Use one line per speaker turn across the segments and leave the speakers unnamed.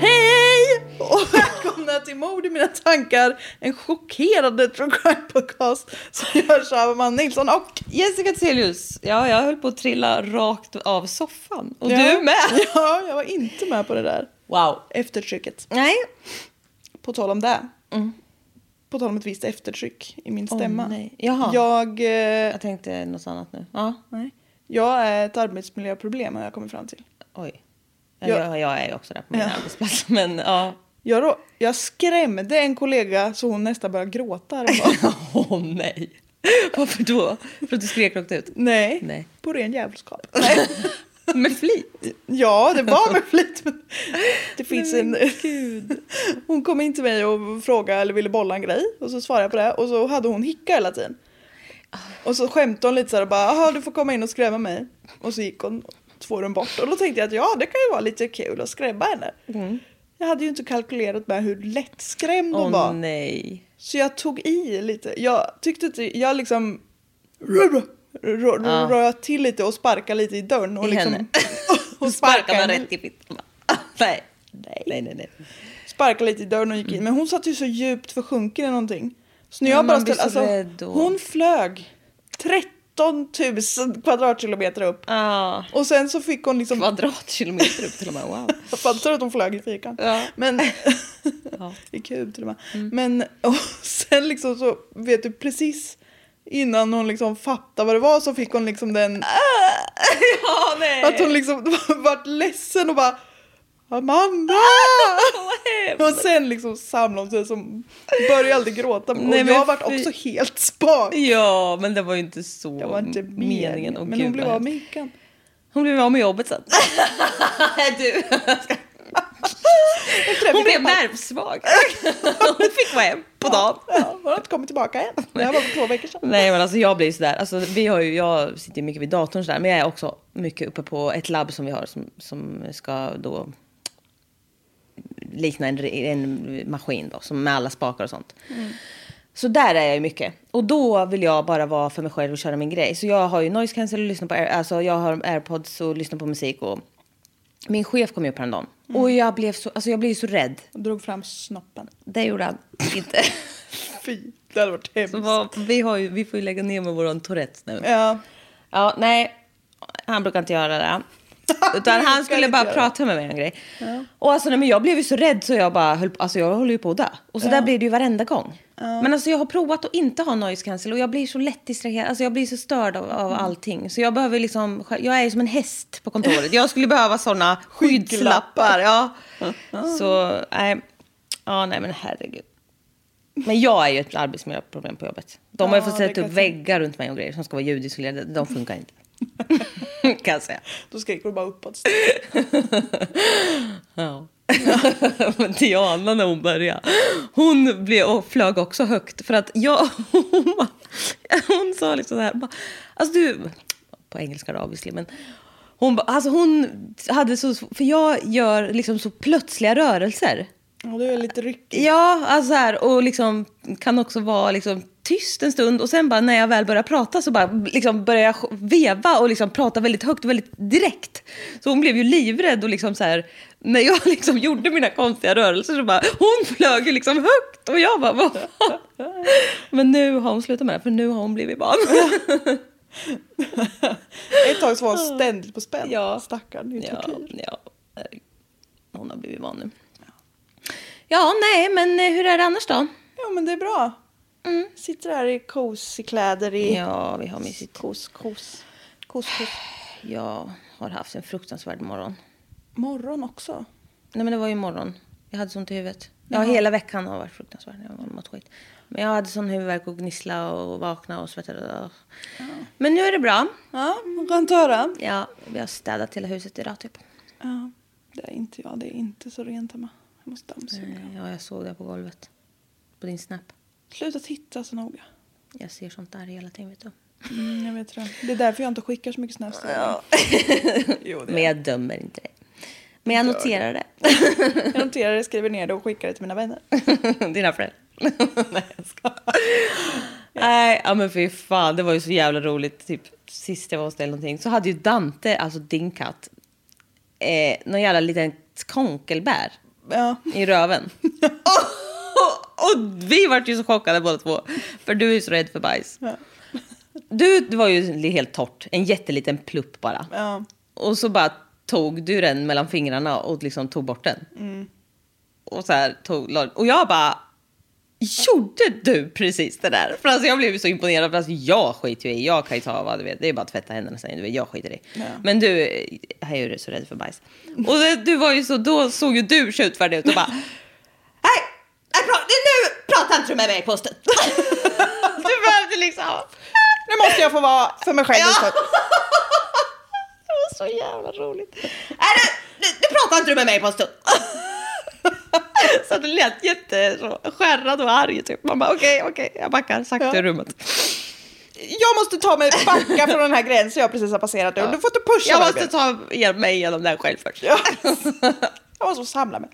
Hej och välkomna till Mord i mina tankar, en chockerande true crime-podcast som görs av Amanda Nilsson och...
Jessica Thelius, ja jag höll på att trilla rakt av soffan. Och
Ja.
du med!
Ja, jag var inte med på det där
Wow.
eftertrycket.
Nej. Mm.
På tal om det. På tal om ett visst eftertryck i min
Åh,
stämma.
nej. Jaha.
Jag, eh,
Jag tänkte något annat nu. Ja.
nej. jag är ett arbetsmiljöproblem har jag kommit fram till.
Oj. Ja,
Ja.
Jag, jag är ju också där på min
Ja.
arbetsplats. Men ja.
Jag, rå- jag skrämde en kollega så hon nästan började gråta. häromdagen.
Åh nej. Varför då? För att du skrek rakt ut?
Nej,
Nej.
på ren jävelskap.
Med flit?
Ja, det var med flit. Men det finns en... Hon kom in till mig och frågade eller ville bolla en grej och så svarade jag på det och så hade hon hicka hela tiden. Och så skämtade hon lite så här och bara jaha du får komma in och skrämma mig. Och så gick hon två rum bort och då tänkte jag att ja det kan ju vara lite kul att skrämma henne. Jag hade ju inte kalkylerat med hur lättskrämd hon
Mm. Åh
var.
nej.
Så jag tog i lite. Jag tyckte inte, jag liksom rö-
Ja.
röt till lite och sparkade lite i dörren. Och
I
liksom,
henne.
Och
Sparkar
sparkade
man
henne.
rätt i fittan? Nej. Nej. nej, nej, nej.
Sparkade lite i dörren och gick in. Men hon satt ju så djupt försjunken i någonting. Så
Mm.
när
Ja,
jag bara
man blir
ställde,
så
alltså,
rädd då.
hon flög 13 000 kvadratkilometer upp.
Ah.
Och sen så fick hon liksom,
Kvadratkilometer upp till och med. Wow.
jag fattar att hon flög i fyrkant.
Ja. Mm.
Men,
Ja.
i kub till och med. Men och sen liksom så, vet du precis innan hon liksom fattade vad det var så fick hon liksom den
Ja, nej.
Att hon liksom vart ledsen och bara Amanda! och sen liksom samlade hon sig som började aldrig gråta. Och
Nej, men
jag vart
fy-
också helt spak.
Ja, men det var ju inte så
Jag var inte meningen.
meningen. Åh,
men
gud,
hon blev
vad
av med
hemskt.
hickan.
hon blev av med jobbet sen. du. Hon blev nervsvag. Hon fick vara hem på dagen.
Ja, hon har inte kommit tillbaka än. Det här var för två veckor sedan.
Nej men alltså jag blir ju sådär, alltså, vi har ju, jag sitter ju mycket vid datorn sådär men jag är också mycket uppe på ett labb som vi har som, som ska då likna en, en maskin då, som med alla spakar och sånt. Så där är jag ju mycket. Och då vill jag bara vara för mig själv och köra min grej. Så jag har ju noise cancel och lyssnar på, air, alltså jag har airpods och lyssnar på musik och min chef kom ju upp häromdagen. Och jag blev så, alltså jag blev ju så rädd.
Hon drog fram snoppen.
Det gjorde han inte.
Fy, det hade varit hemskt.
Så vad, vi, har ju, vi får ju lägga ner med våran Tourettes nu.
Ja.
Ja, nej. Han brukar inte göra det. Utan han skulle
inte
bara
göra
prata med mig om en grej. Och alltså, nej, men jag blev ju så rädd så jag bara höll, på- alltså, jag håller ju på att dö. Och så där blir det ju varenda gång. Men alltså jag har provat att inte ha noise cancel och jag blir så lätt distraherad. Alltså jag blir så störd av, av
Mm.
allting. Så jag behöver liksom, jag är ju som en häst på kontoret. Jag skulle behöva sådana skyddslappar. Ja. Så, nej. Ja, nej men herregud. Men jag är ju ett arbetsmiljöproblem på jobbet. De har ju
Ja,
fått
det
sätta
kan
upp
jag tänka.
väggar runt mig och grejer som ska vara ljudisolerade. De funkar inte. kan jag säga.
Då skrek hon bara uppåt.
Ja. Men Diana när hon började, hon blev, och flög också högt. För att jag, hon, bara- hon sa liksom så här, bara, alltså du, på engelska då obviously, men hon, bara, alltså hon hade så, för jag gör liksom så plötsliga rörelser.
Ja, det är lite ryckig.
Ja, alltså så här, och liksom kan också vara liksom tyst en stund och sen bara när jag väl börjar prata så bara liksom börjar jag sj- veva och liksom prata väldigt högt och väldigt direkt. Så hon blev ju livrädd och liksom så här, när jag liksom gjorde mina konstiga rörelser så bara hon flög ju liksom högt och jag bara vad fan? Men nu har hon slutat med det för nu har hon blivit barn.
Ett tag så var hon ständigt på spänn.
Ja.
Stackarn, det är ju
Ja,
tortyr.
ja. Hon har blivit van nu. Ja, nej, men eh, hur är det annars då?
Ja, men det är bra. Sitter här i kosekläder i...
Mm. Ja, vi har mysigt.
Kos, kos. Kos, kos.
Jag har haft en fruktansvärd morgon.
Morgon också.
Nej men det var ju morgon. Jag hade sånt i huvudet. Ja, hela veckan har varit fruktansvärd. Jag har mått skit. Men jag hade sån huvudvärk och gnissla och vakna och svettade. Men nu är det bra.
Ja, skönt att höra.
Ja, vi har städat hela huset idag typ.
Ja, det är inte jag. Det är inte så rent hemma. Jag måste dammsuga.
Eh, Ja, jag såg det på golvet. På din snap.
Sluta titta så noga.
Jag ser sånt där hela tiden vet du.
Mm, jag vet det. Det är därför jag inte skickar så mycket snaps till dig. Jo, det
Men jag dömer inte dig. Men jag noterar det.
Jag noterar det, skriver ner det och skickar det till mina vänner.
Dina föräldrar. Nej, jag skojar. Nej, ja, men fy fan. Det var ju så jävla roligt. Typ sist jag var hos dig eller någonting så hade ju Dante, alltså din katt, eh, någon jävla liten konkelbär
Ja.
i röven. och, och, och vi vart ju så chockade båda två. För du är ju så rädd för bajs.
Ja.
Du det var ju helt torrt. En jätteliten plupp bara.
ja.
Och så bara tog du den mellan fingrarna och liksom tog bort den.
Mm.
Och så här tog, la- och jag bara, gjorde du precis det där? För alltså jag blev så imponerad, för alltså jag skiter ju i, jag kan ju ta vad du vet, det är bara att tvätta händerna sen, du vet, jag skiter i. Men du, eh, här är du så rädd för bajs. Och det, du var ju så, då såg ju du skjutfärdig ut och bara, Nej, jag pra- nu pratar inte du med mig på stund. du behövde liksom...
Nu måste jag få vara för mig själv liksom.
Ja.
ja.
Det var så jävla roligt. Nej, du, nu, nu pratar inte du med mig på en stund. så det lät jätte så, skärrad och arg typ. Man bara okej, okej, jag backar sakta
Ja.
ur rummet.
Jag måste ta mig backa från den här gränsen jag precis har passerat nu. Du får inte pusha
Jag
mig,
måste
Björn.
ta igen- mig igenom det här själv först.
Ja. Jag måste få samla mig.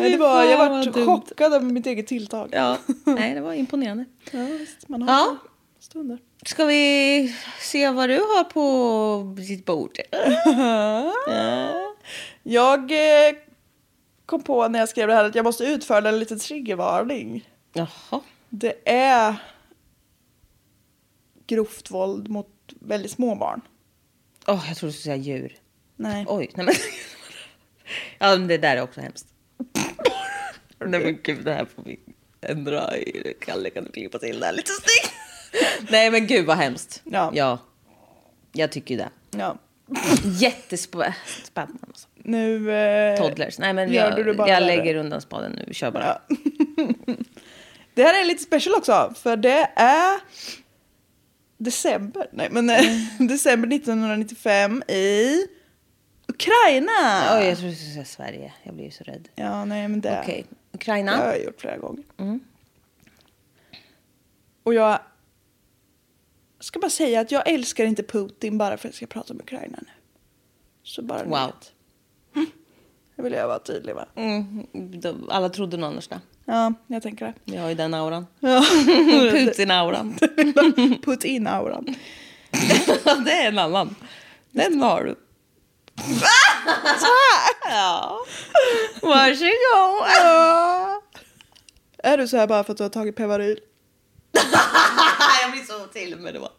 Nej, det var, jag var chockad över mitt eget tilltag.
Ja, nej det var imponerande.
Ja, visst, man har
Ja.
stunder.
Ska vi se vad du har på ditt bord?
Jag eh, kom på när jag skrev det här att jag måste utföra en liten triggervarning.
Jaha.
Det är grovt våld mot väldigt små barn.
Åh, jag trodde du skulle säga djur.
Nej.
Oj, nej men. Ja, men det där är också hemskt. nej men gud, det här får vi ändra. i- Kalle kan du klippa till det här lite snyggt? nej men gud vad hemskt.
Ja.
ja. Jag tycker ju det.
Ja.
Jättespännande. Alltså.
Nu... Eh,
Toddlers. Nej men
Gör
jag,
du det bara
jag
där?
lägger undan spaden nu. Vi kör bara.
Ja. det här är lite special också, för det är december, nej men eh,
Mm.
december 1995 i Ukraina.
Oj, jag trodde du skulle säga Sverige. Jag blir ju så rädd.
Ja, nej men det,
Okej,
det har
Ukraina. Mm.
jag gjort flera gånger. Och jag ska bara säga att jag älskar inte Putin bara för att jag ska prata om Ukraina nu. Så bara ni
Wow.
vet. Mm. Det vill jag vara tydlig med.
Mm, de- alla trodde något annars där.
Ja, jag tänker det.
Vi har ju den auran.
Ja.
Putin-auran.
Put in auran.
det är en annan. Den har du. ja. Varsågod.
Är du så här bara för att du har tagit Pevaryl?
Jag blir så till med då.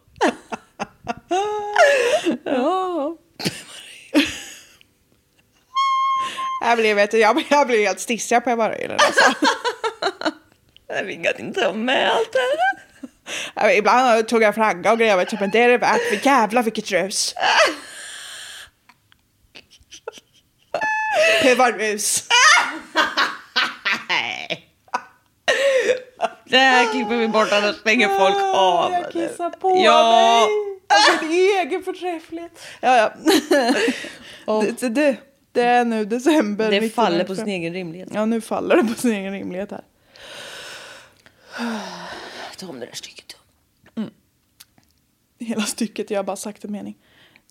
Jag blev, vet du, jag, jag blev helt stissig på Pevaryl. Alltså.
Jag ringat inte om med allt det här.
Jag vet, Ibland tog jag flagga och grejer, vet du, men det är det värt. För jävlar vilket rus. Pevarus.
Det här klipper vi bort annars stänger folk av.
Jag kissar på
ja.
mig. Av min egen förträfflighet. Ja, ja. Det, det, det är nu december.
Det
1995.
faller på sin egen rimlighet.
Ja, nu faller det på sin egen rimlighet här.
Ta om det där stycket.
Hela stycket, jag har bara sagt en mening.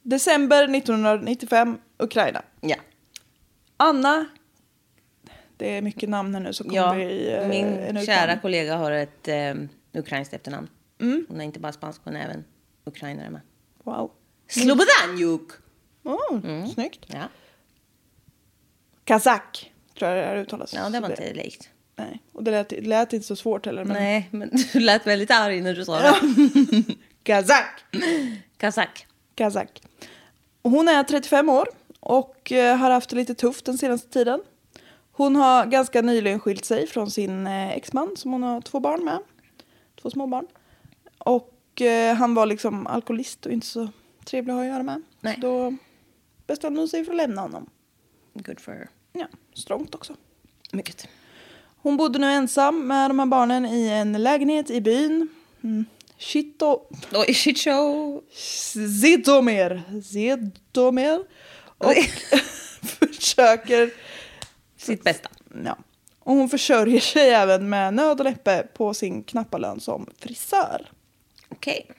December 1995, Ukraina.
Ja.
Anna. Det är mycket namn här nu som kommer
ja.
bli eh, en
Min
utmaning.
kära kollega har ett eh, ukrainskt efternamn. Hon är inte bara spansk, hon är även ukrainare med.
Wow.
Slobodanjuk!
Oh,
Mm.
Snyggt.
Ja.
Kazak tror jag det här uttalas.
ja, det var
Så
inte likt.
Nej, och det lät, det lät inte så svårt heller. Men...
Nej, men du lät väldigt arg när du sa det.
Kazak.
Kazak.
Kazak. Hon är 35 år och eh, har haft det lite tufft den senaste tiden. Hon har ganska nyligen skilt sig från sin eh, exman som hon har två barn med. Två små barn. Och eh, han var liksom alkoholist och inte så trevlig att ha att göra med.
Nej.
Så då bestämde hon sig för att lämna honom.
Good for her.
Ja, strångt också.
Mycket.
Hon bodde nu ensam med de här barnen i en lägenhet i byn. Mm. Shito...
Oj, shit show.
Zedomer. Zedomer. Och försöker...
Sitt bästa.
Ja. Och hon försörjer sig även med nöd och näppe på sin knappa lön som frisör.
Okej.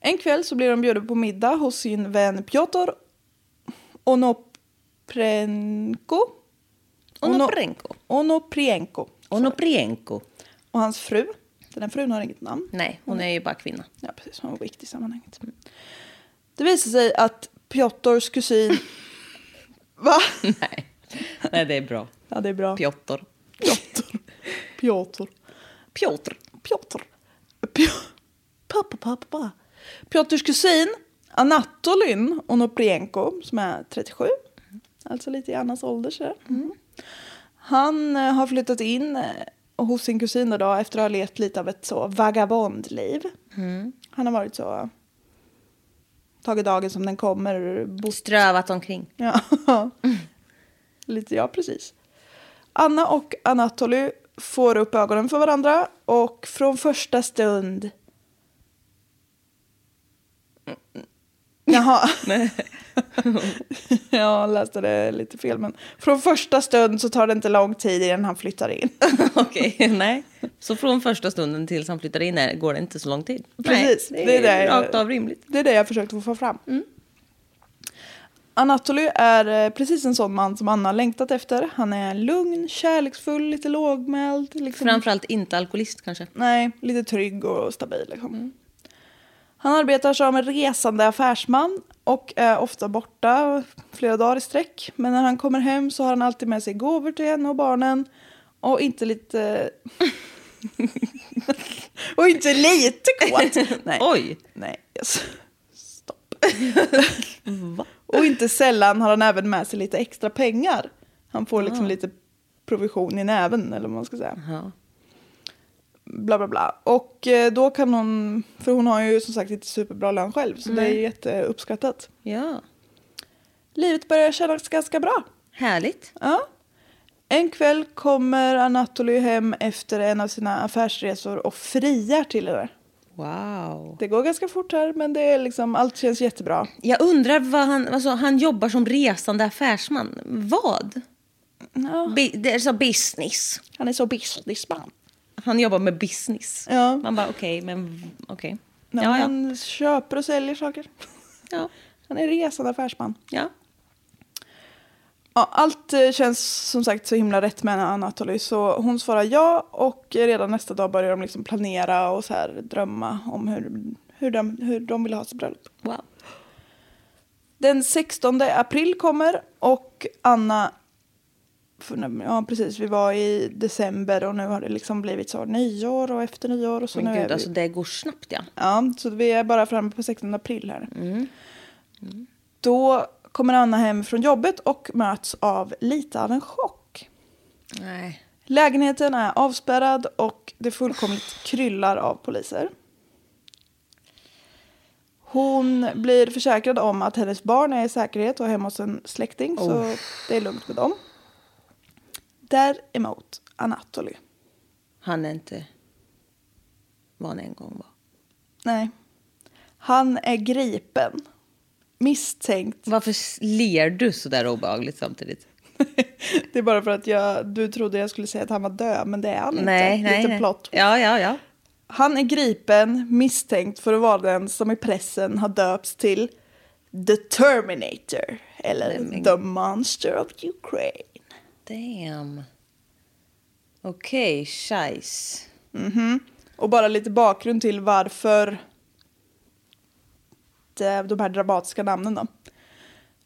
En kväll så blir hon bjuden på middag hos sin vän Piotr Onoprenko.
Onoprenko.
Onoprienko.
Onoprienko.
Och hans fru. Den här frun har inget namn.
Nej, hon är ju bara kvinna.
Ja, precis. Hon var viktig i sammanhanget. Det visar sig att Piotrs kusin... Va?
Nej. Nej, det är bra.
Ja, det är bra.
Piotr.
Piotr. Piotr.
Piotr.
Piotr. Pio- Pappa, pappa, pappa. Piotrs kusin Anatolin Onoprienko, som är 37, alltså lite i Annas ålder, sådär. han eh, har flyttat in eh, hos sin kusin då, då, efter att ha levt lite av ett så vagabondliv. Han har varit så... Tagit dagen som den kommer, bott
Strövat omkring.
Ja. Lite ja, precis. Anna och Anatoly får upp ögonen för varandra och från första stund... Jaha. Jag läste det lite fel, men från första stund så tar det inte lång tid innan han flyttar in.
Okej, nej. Så från första stunden tills han flyttar in här går det inte så lång tid.
Precis,
nej,
det är det.
rakt av rimligt. Mm.
Det är det jag försökte få fram. Anatoly är eh, precis en sån man som Anna längtat efter. Han är lugn, kärleksfull, lite lågmäld. Liksom.
Framförallt inte alkoholist kanske.
Nej, lite trygg och stabil. Liksom.
Mm.
Han arbetar som en resande affärsman och är ofta borta flera dagar i sträck. Men när han kommer hem så har han alltid med sig gåvor till henne och barnen. Och inte lite... och inte lite kåt. Nej.
Oj!
Nej, yes. stopp. och inte sällan har han även med sig lite extra pengar. Han får liksom lite provision i näven eller vad man ska säga.
Ja.
Bla bla bla. Och eh, då kan hon, för hon har ju som sagt inte superbra lön själv så det är ju jätteuppskattat.
ja.
Livet börjar kännas ganska bra.
Härligt.
Ja. En kväll kommer Anatoly hem efter en av sina affärsresor och friar till henne.
Wow.
Det går ganska fort här men det är liksom, allt känns jättebra.
Jag undrar vad han... Alltså, han jobbar som resande affärsman. Vad?
Ja.
Bi- det är så business.
Han är så businessman.
Han jobbar med business.
Ja.
Man bara okej, men okej.
När
Ja, ja.
han köper och säljer saker.
Ja.
Han är resande affärsman.
ja.
Ja, allt eh, känns som sagt så himla rätt med henne, Anatoly så hon svarar ja och eh, redan nästa dag börjar de liksom planera och så här drömma om hur, hur, de, hur de vill ha sitt bröllop.
Wow.
Den 16 april kommer och Anna... För, nu- ja, precis. Vi var i december och nu har det liksom blivit så nyår och efter nyår. Och så
Men
nu är
gud,
vi,
alltså det går snabbt ja.
Ja, så vi är bara framme på 16 april här. Då kommer Anna hem från jobbet och möts av lite av en chock.
Nej.
Lägenheten är avspärrad och det fullkomligt kryllar av poliser. Hon blir försäkrad om att hennes barn är i säkerhet och hemma hos en släkting så det är lugnt med dem. Däremot Anatoly.
han är inte vad han en gång var.
Nej. Han är gripen. Misstänkt.
Varför ler du så där obehagligt samtidigt?
det är bara för att jag, du trodde jag skulle säga att han var död, men det är han
Nej,
inte.
nej,
Lite
nej.
plott.
Ja, ja, ja.
Han är gripen misstänkt för att vara den som i pressen har döpts till The Terminator eller
Nej, men-
The Monster of Ukraine.
Damn. Okej, scheisse.
Och bara lite bakgrund till varför det- de här dramatiska namnen då.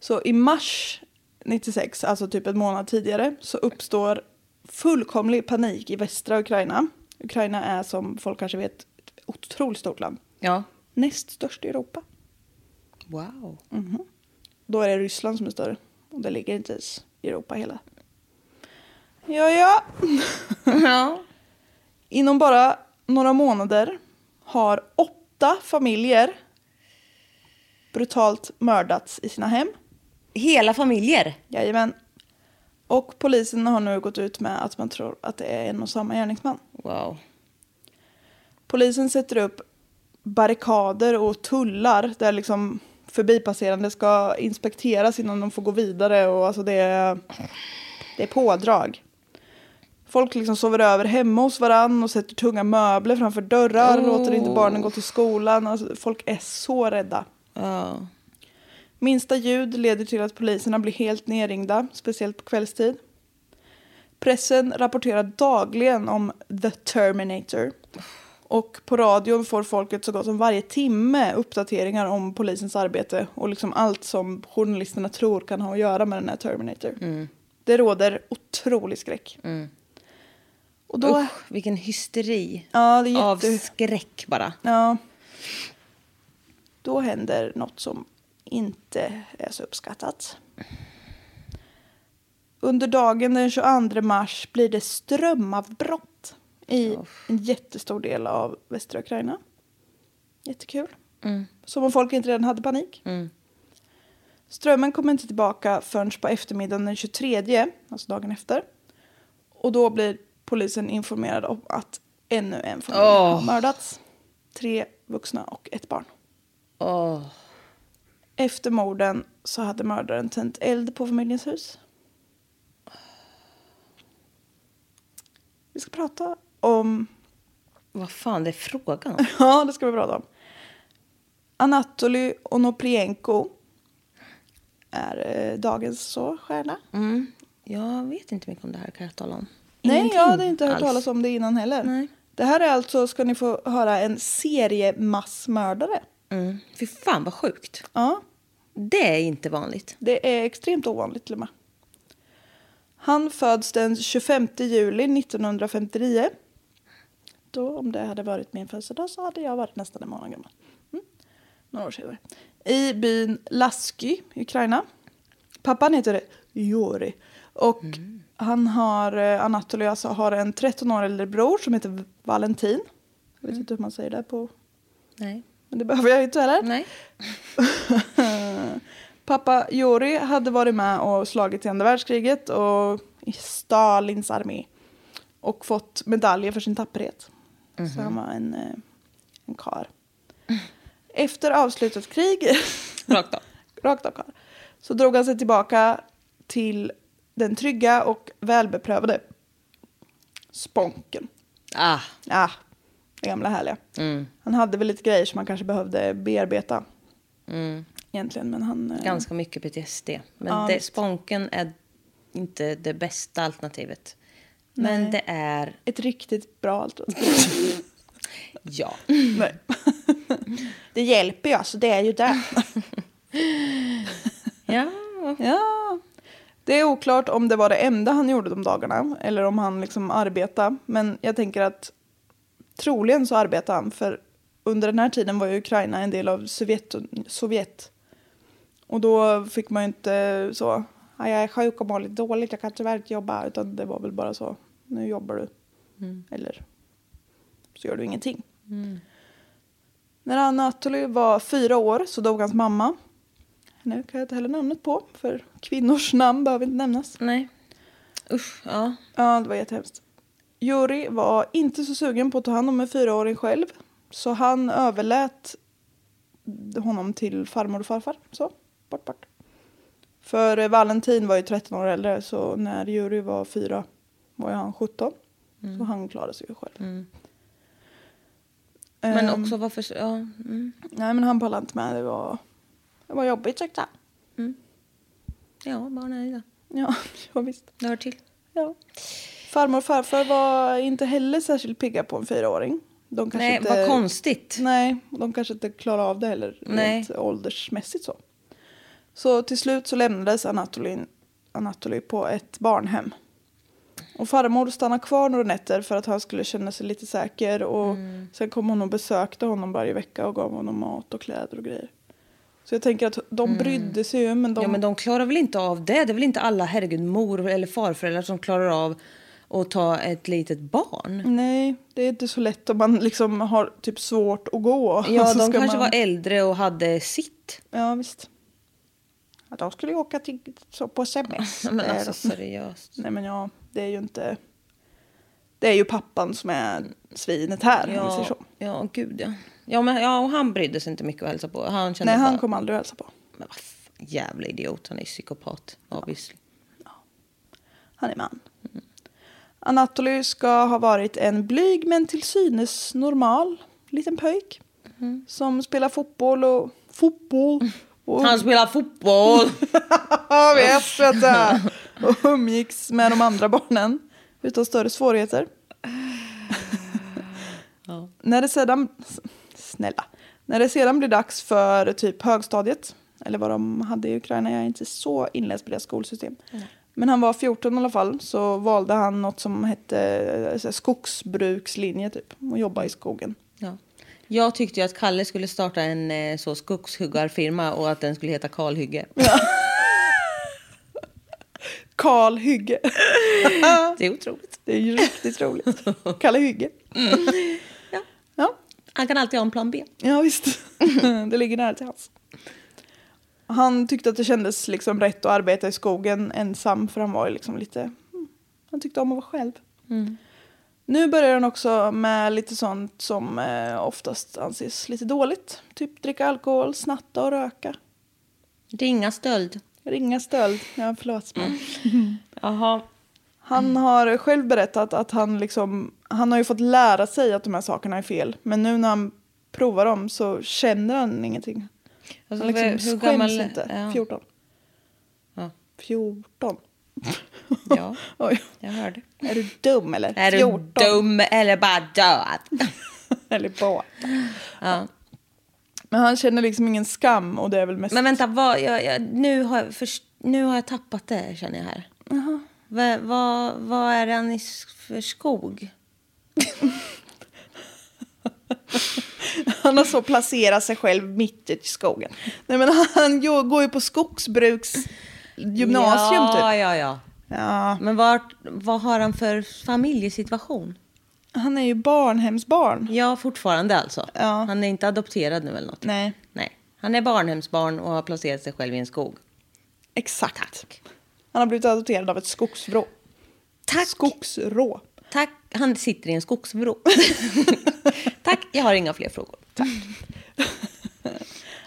Så i mars 96, alltså typ en månad tidigare, så uppstår fullkomlig panik i västra Ukraina. Ukraina är som folk kanske vet ett otroligt stort land.
Ja.
Näst störst i Europa.
Wow.
Då är det Ryssland som är större. Och det ligger inte ens i Europa hela. Ja, ja.
ja.
Inom bara några månader har åtta familjer brutalt mördats i sina hem.
Hela familjer?
Jajamän. Och polisen har nu gått ut med att man tror att det är en och samma gärningsman.
Wow.
Polisen sätter upp barrikader och tullar där liksom förbipasserande ska inspekteras innan de får gå vidare och alltså det är, det är pådrag. Folk liksom sover över hemma hos varann och sätter tunga möbler framför dörrar, låter inte barnen gå till skolan. Alltså, folk är så rädda.
Ja.
Minsta ljud leder till att poliserna blir helt nerringda, speciellt på kvällstid. Pressen rapporterar dagligen om The Terminator. Och på radion får folket så gott som varje timme uppdateringar om polisens arbete och liksom allt som journalisterna tror kan ha att göra med den här Terminator. Det råder otrolig skräck. Och då...
Usch, vilken hysteri.
Ja, det är
Av
jätte...
skräck bara.
Ja. Då händer något som inte är så uppskattat. Under dagen den 22 mars blir det strömavbrott i en jättestor del av västra Ukraina. Jättekul. Som om folk inte redan hade panik. Strömmen kommer inte tillbaka förrän på eftermiddagen den 23, alltså dagen efter. Och då blir polisen informerad om att ännu en familj har
Åh.
mördats. Tre vuxna och ett barn.
Åh.
Efter morden så hade mördaren tänt eld på familjens hus. Vi ska prata om...
Vad fan det är frågan om?
Ja, det ska vi prata om. Anatoly Onoprienko är eh, dagens så stjärna.
Mm. Jag vet inte mycket om det här kan jag tala om.
Nej,
Ingenting
jag hade inte hört
alls.
talas om det innan heller.
Nej.
Det här är alltså, ska ni få höra, en seriemassmördare.
Mm. Fy fan vad sjukt.
Ja,
Det är inte vanligt.
Det är extremt ovanligt till och med. Han föds den 25 juli 1959. Då, om det hade varit min födelsedag så hade jag varit nästan en månad gammal. Mm. Några år senare. I byn Lasky, Ukraina. Pappan heter Jori. Och han har, eh, Anatoly alltså, har en 13 år äldre bror som heter Valentin. Jag vet inte hur man säger det på...
Nej.
Men det behöver jag inte heller.
Nej.
Pappa Jori hade varit med och slagit i andra världskriget och i Stalins armé. Och fått medaljer för sin tapperhet.
Mhm.
Så han var en, eh, en kar. Efter avslutat krig,
Rakt av.
rakt av kar, så drog han sig tillbaka till den trygga och välbeprövade Sponken.
Ah.
Ah, det gamla härliga.
Mm.
Han hade väl lite grejer som han kanske behövde bearbeta
Mm.
egentligen. Men han, eh,
Ganska mycket PTSD. Men
Ja,
det,
visst.
sponken är inte det bästa alternativet. Men
Nej.
det är...
ett riktigt bra alternativ.
Ja.
Nej. Det hjälper ju alltså, det är ju det.
ja.
Ja. Det är oklart om det var det enda han gjorde de dagarna eller om han liksom arbetade. Men jag tänker att troligen så arbetade han för under den här tiden var ju Ukraina en del av Sovjet. Sovjet. Och då fick man ju inte så, "Ja, jag är sjuk och mår lite dåligt, jag kan tyvärr inte jobba. Utan det var väl bara så, nu jobbar du. Eller så gör du ingenting. När Anatoly var fyra år så dog hans mamma. Nu kan jag inte heller namnet på, för kvinnors namn behöver inte nämnas.
Nej. Usch. Ja.
Ja, det var jättehemskt. Juri var inte så sugen på att ta hand om en fyraåring själv så han överlät honom till farmor och farfar. Så, bort, bort. För eh, Valentin var ju 13 år äldre så när Juri var fyra var ju han 17.
Mm.
Så han klarade sig ju själv.
Men
Ehm,
också varför... Ja, mm,
Nej men han pallade inte med, det var, det var jobbigt tyckte han.
ja barn är det.
Ja, ja visst.
Det hör till.
Ja. Farmor och farfar var inte heller särskilt pigga på en fyraåring. De kanske
Nej,
inte,
vad konstigt.
Nej, de kanske inte klarar av det heller
Nej.
rent åldersmässigt så. Så till slut så lämnades Anatoly, Anatoly på ett barnhem. Och farmor stannade kvar några nätter för att han skulle känna sig lite säker. Och
Mm.
Sen kom hon och besökte honom varje vecka och gav honom mat och kläder och grejer. Så jag tänker att de brydde sig ju men de...
Mm. Ja, men de klarar väl inte av det? Det är väl inte alla herregud mor eller farföräldrar som klarar av att ta ett litet barn?
Nej, det är inte så lätt om man liksom har typ svårt att gå.
Ja,
Och så
de
ska
kanske
man...
var äldre och hade sitt.
Ja, visst. Ja, de skulle ju åka till, så på sms.
Nej, Men
Det är
alltså
de.
seriöst.
Nej, men ja, det är ju inte... Det är ju pappan som är svinet här, om vi säger
Ja,
så.
ja, gud ja. Ja, men, ja, och han brydde sig inte mycket att hälsa på. Han kände
Nej, han
bara,
kommer aldrig att hälsa på.
men vad fan, jävla idiot, han är ju psykopat. Obviously.
Han är man. Anatoly ska ha varit en blyg men till synes normal liten pöjk.
Mm.
Som spelar fotboll och... Fotboll! Och
Han spelar fotboll!
Ja, vet vet du. Och umgicks med de andra barnen utan större svårigheter. När det sedan... Snälla. När det sedan blir dags för typ högstadiet, eller vad de hade i Ukraina, jag är inte så inläst på deras skolsystem. Men han var 14 i alla fall, så valde han något som hette eh, så här, skogsbrukslinje typ, och jobba i skogen.
ja. Jag tyckte ju att Kalle skulle starta en eh, så skogshuggarfirma och att den skulle heta Kalhygge.
Karl Hygge.
Det är otroligt.
Det är ju riktigt roligt. Kalle Hygge.
Ja.
Ja.
Han kan alltid ha en plan B.
Ja visst, det ligger nära till hans. Han tyckte att det kändes liksom rätt att arbeta i skogen ensam för han var ju liksom lite, mm, han tyckte om att vara själv. Nu börjar han också med lite sånt som eh, oftast anses lite dåligt. Typ dricka alkohol, snatta och röka.
Ringa stöld.
Ringa stöld. Ja, förlåt. Men.
Jaha.
Han har själv berättat att han liksom, han har ju fått lära sig att de här sakerna är fel. Men nu när han provar dem så känner han ingenting.
Alltså,
han
hur-
liksom
hur
skäms
gammal-
inte.
ja.
14.
Ja.
14.
Ja.
Oj.
Jag hörde.
Är du dum eller?
Är
14.
du dum eller bara död?
eller båda.
ja.
Men han känner liksom ingen skam och det är väl mest...
Men vänta, vad, jag, jag, nu, har jag först, nu har jag tappat det känner jag här. Va- Vad vad är den i s- för skog?
Han har så placerat sig själv mitt ute i skogen. Nej men han jo- går ju på skogsbruksgymnasium
ja,
typ.
Ja, ja.
Ja.
Men vart, vad har han för familjesituation?
Han är ju barnhemsbarn.
Ja, fortfarande alltså.
Ja.
Han är inte adopterad nu eller något?
Nej,
Nej. Han är barnhemsbarn och har placerat sig själv i en skog.
exakt. Han har blivit adopterad av ett skogsvrå.
Tack.
Skogsrå.
Tack. Han sitter i en skogsvrå. Tack, jag har inga fler frågor.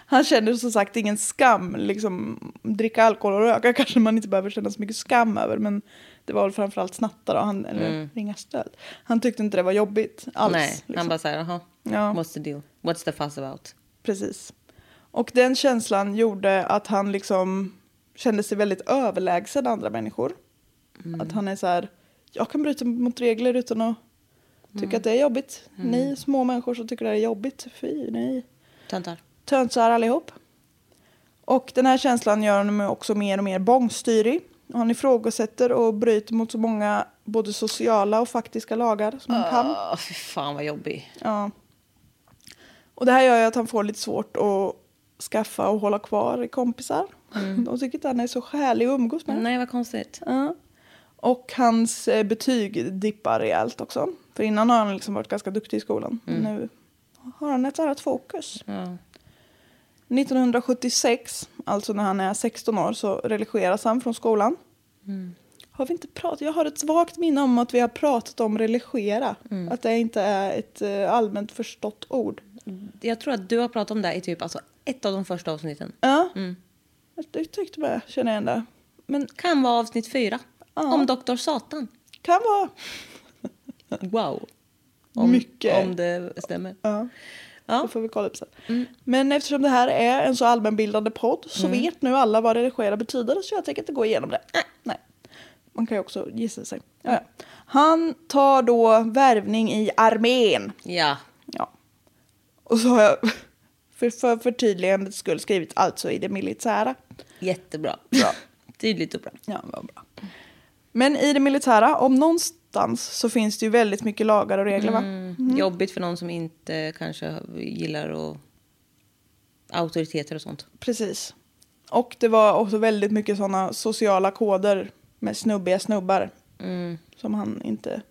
Han känner som sagt ingen skam. Liksom, dricka alkohol och röka kanske man inte behöver känna så mycket skam över. Men det var väl framförallt snatta då, han, eller ringa stöld. Han tyckte inte det var jobbigt alls.
Mm. Nej, han
liksom.
bara säger jaha,
Ja.
what's the deal? What's the fuss about?
Precis. Och den känslan gjorde att han liksom kände sig väldigt överlägsen andra människor. Att han är så här, jag kan bryta mot regler utan att tycka att det är jobbigt. Ni små människor som tycker det här är jobbigt, fy nej.
Töntar.
töntsar allihop. Och den här känslan gör honom också mer och mer bångstyrig. Och han ifrågasätter och bryter mot så många både sociala och faktiska lagar som
Ah.
han kan.
Åh, fy fan vad jobbig.
Ja. Och det här gör ju att han får lite svårt att skaffa och hålla kvar kompisar. De tycker inte han är så härlig att umgås med.
Nej, vad konstigt.
Ja. Och hans eh, betyg dippar rejält också. För innan har han liksom varit ganska duktig i skolan. Men nu har han ett annat fokus.
Ja.
1976, alltså när han är 16 år, så religeras han från skolan. Har vi inte pratat? Jag har ett svagt minne om att vi har pratat om religera. Att det inte är ett eh, allmänt förstått ord.
Jag tror att du har pratat om det i typ alltså, ett av de första avsnitten.
Ja. Jag, jag tyckte med, känner jag ändå. Men
Kan vara avsnitt fyra.
Ja.
Om Doktor Satan.
kan vara.
Wow. Om,
Mycket.
Om det stämmer.
Ja.
Ja.
Det får vi kolla upp sen. Men eftersom det här är en så allmänbildande podd så vet nu alla vad redigera betyder så jag tänker inte gå igenom det. Nej. Man kan ju också gissa sig. Ja, ja. Han tar då värvning i armén.
Ja.
Ja. Och så har jag för, för förtydligandets skull skrivit alltså i det militära.
Jättebra.
Bra.
Tydligt och bra.
Ja, vad bra. Men i det militära, om någonstans så finns det ju väldigt mycket lagar och regler
Mm.
va?
Jobbigt för någon som inte kanske gillar och auktoriteter och sånt.
Precis. Och det var också väldigt mycket sådana sociala koder med snubbiga snubbar. Som han inte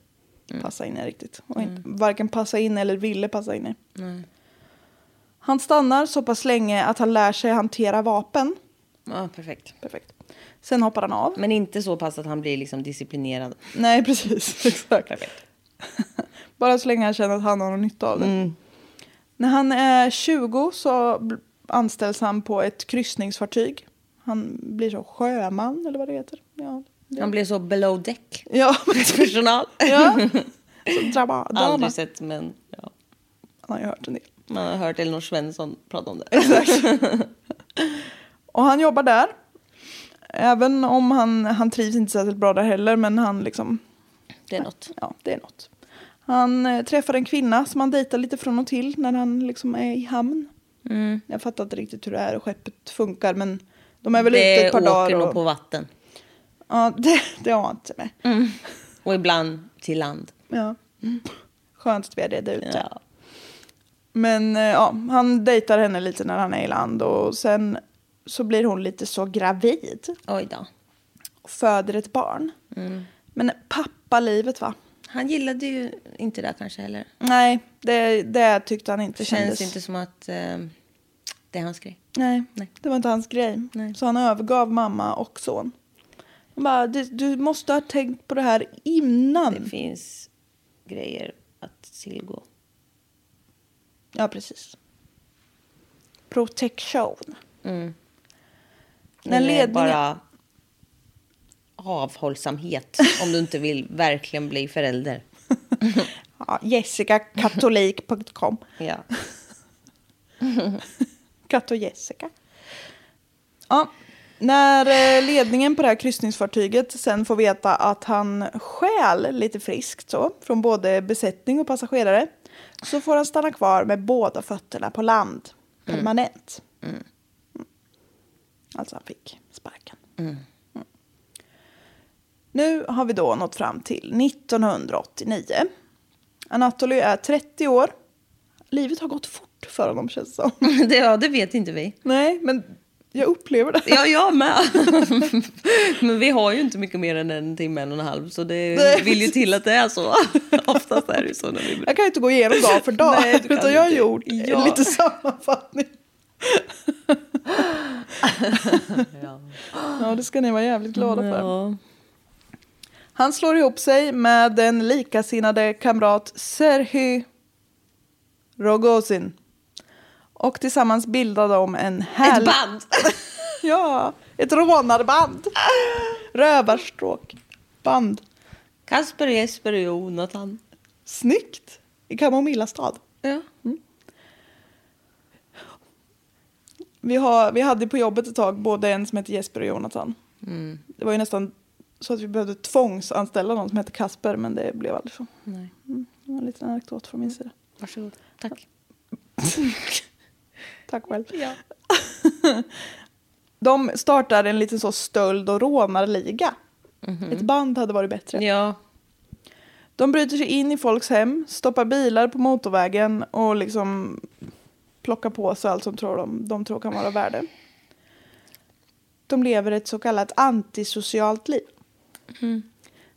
passade in i riktigt. Och inte, varken passade in eller ville passa in i. Han stannar så pass länge att han lär sig hantera vapen.
Ja, perfekt.
Perfekt. Sen hoppar han av.
Men inte så pass att han blir liksom disciplinerad.
Nej, precis. Exakt.
Perfekt.
Bara så länge han känner att han har någon nytta av det.
Mm.
När han är 20 så bl- anställs han på ett kryssningsfartyg. Han blir så sjöman eller vad det heter. Ja,
Han blir så below deck.
ja.
Personal.
ja. Så drama, drama.
Aldrig sett, men ja.
Han har ju hört en del.
man har hört Elinor Svensson prata om det.
Och han jobbar där. Även om han, han trivs inte särskilt bra där heller, men han liksom...
Det är något.
Ja, det är något. Han eh, träffar en kvinna som han dejtar lite från och till när han liksom är i hamn.
Mm.
Jag fattar inte riktigt hur det här skeppet funkar, men de är väl ute
Det
ett par
åker
dagar.
nog
och-
på vatten.
Ja, det, det har jag inte med.
Mm. Och ibland till land.
Ja. Skönt att vi har redat ut det.
Ja.
Men eh, ja, han dejtar henne lite när han är i land och sen så blir hon lite så gravid
Oj då.
och föder ett barn.
Mm.
Men pappalivet va?
Han gillade ju inte det kanske heller.
Nej, det, det tyckte han inte
Det
kändes.
känns inte som att eh, det är hans grej.
Nej,
Nej.
det var inte hans grej.
Nej.
Så han övergav mamma och son. Han bara, du, du måste ha tänkt på det här innan.
Det finns grejer att tillgå.
Ja, precis. Protection. När
Eller
ledningen...
bara avhållsamhet om du inte vill verkligen bli förälder.
Ja, Jessicakatolik.com.
Ja.
Katt och Jessica. Ja, när eh, ledningen på det här kryssningsfartyget sen får veta att han stjäl lite friskt så, från både besättning och passagerare så får han stanna kvar med båda fötterna på land permanent. Mm. Alltså han fick sparken. Mm. Nu har vi då nått fram till 1989. Anatoly är 30 år. Livet har gått fort för honom känns det som.
Det, ja, det vet inte vi.
Nej, men jag upplever det.
Ja, jag med. Men vi har ju inte mycket mer än en timme, en och en halv. Så det
Nej.
vill ju till att det är så. Oftast är det ju så när vi
Jag kan ju inte gå igenom dag för dag,
Nej, du kan
utan jag har
inte.
gjort
Ja.
lite sammanfattning. ja, det ska ni vara jävligt glada för.
Ja.
Han slår ihop sig med den likasinnade kamrat Serhy Rogozin. Och tillsammans bildar de en
Ett
härlig...
band!
Ja, ett rånarband. Rövarstråkband.
Kasper, Jesper och Jonathan.
Snyggt! I Kamomilla stad.
Ja.
Vi, har, vi hade på jobbet ett tag både en som hette Jesper och Jonathan.
Mm.
Det var ju nästan så att vi behövde tvångsanställa någon som hette Kasper, men det blev aldrig så.
Nej.
Mm. Det var en liten anekdot från min sida.
Varsågod. Tack.
Tack själv.
Ja.
De startade en liten så stöld och rånarliga.
Mhm.
Ett band hade varit bättre.
Ja.
De bryter sig in i folks hem, stoppar bilar på motorvägen och liksom plockar på sig allt som tror de, de tror kan vara värde. De lever ett så kallat antisocialt liv.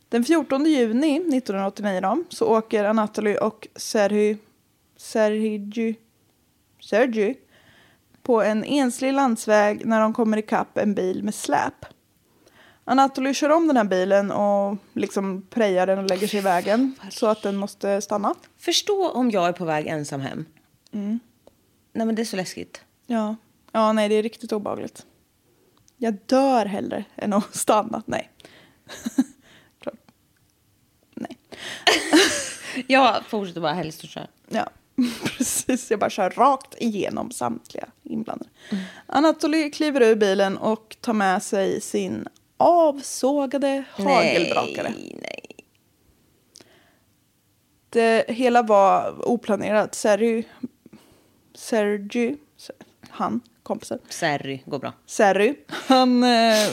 Den 14 juni 1989 då, så åker Anatoly och Serhy, Serhiju, Sergio på en enslig landsväg när de kommer ikapp en bil med släp. Anatoly kör om den här bilen och liksom prejar den och lägger sig i vägen så att den måste stanna.
Förstå om jag är på väg ensam hem. Mm. Nej men det är så läskigt.
Ja. Ja, nej, det är riktigt obehagligt. Jag dör hellre än att stanna. Nej. Klart. Nej.
Jag fortsätter bara helst och kör.
Ja, precis. Jag bara kör rakt igenom samtliga inblandade. Anatoly kliver ur bilen och tar med sig sin avsågade hagelbrakare.
Nej, nej.
Det eh, hela var oplanerat. Sergio, Sergio han, kompisen,
Serry, går bra.
Serry, han eh,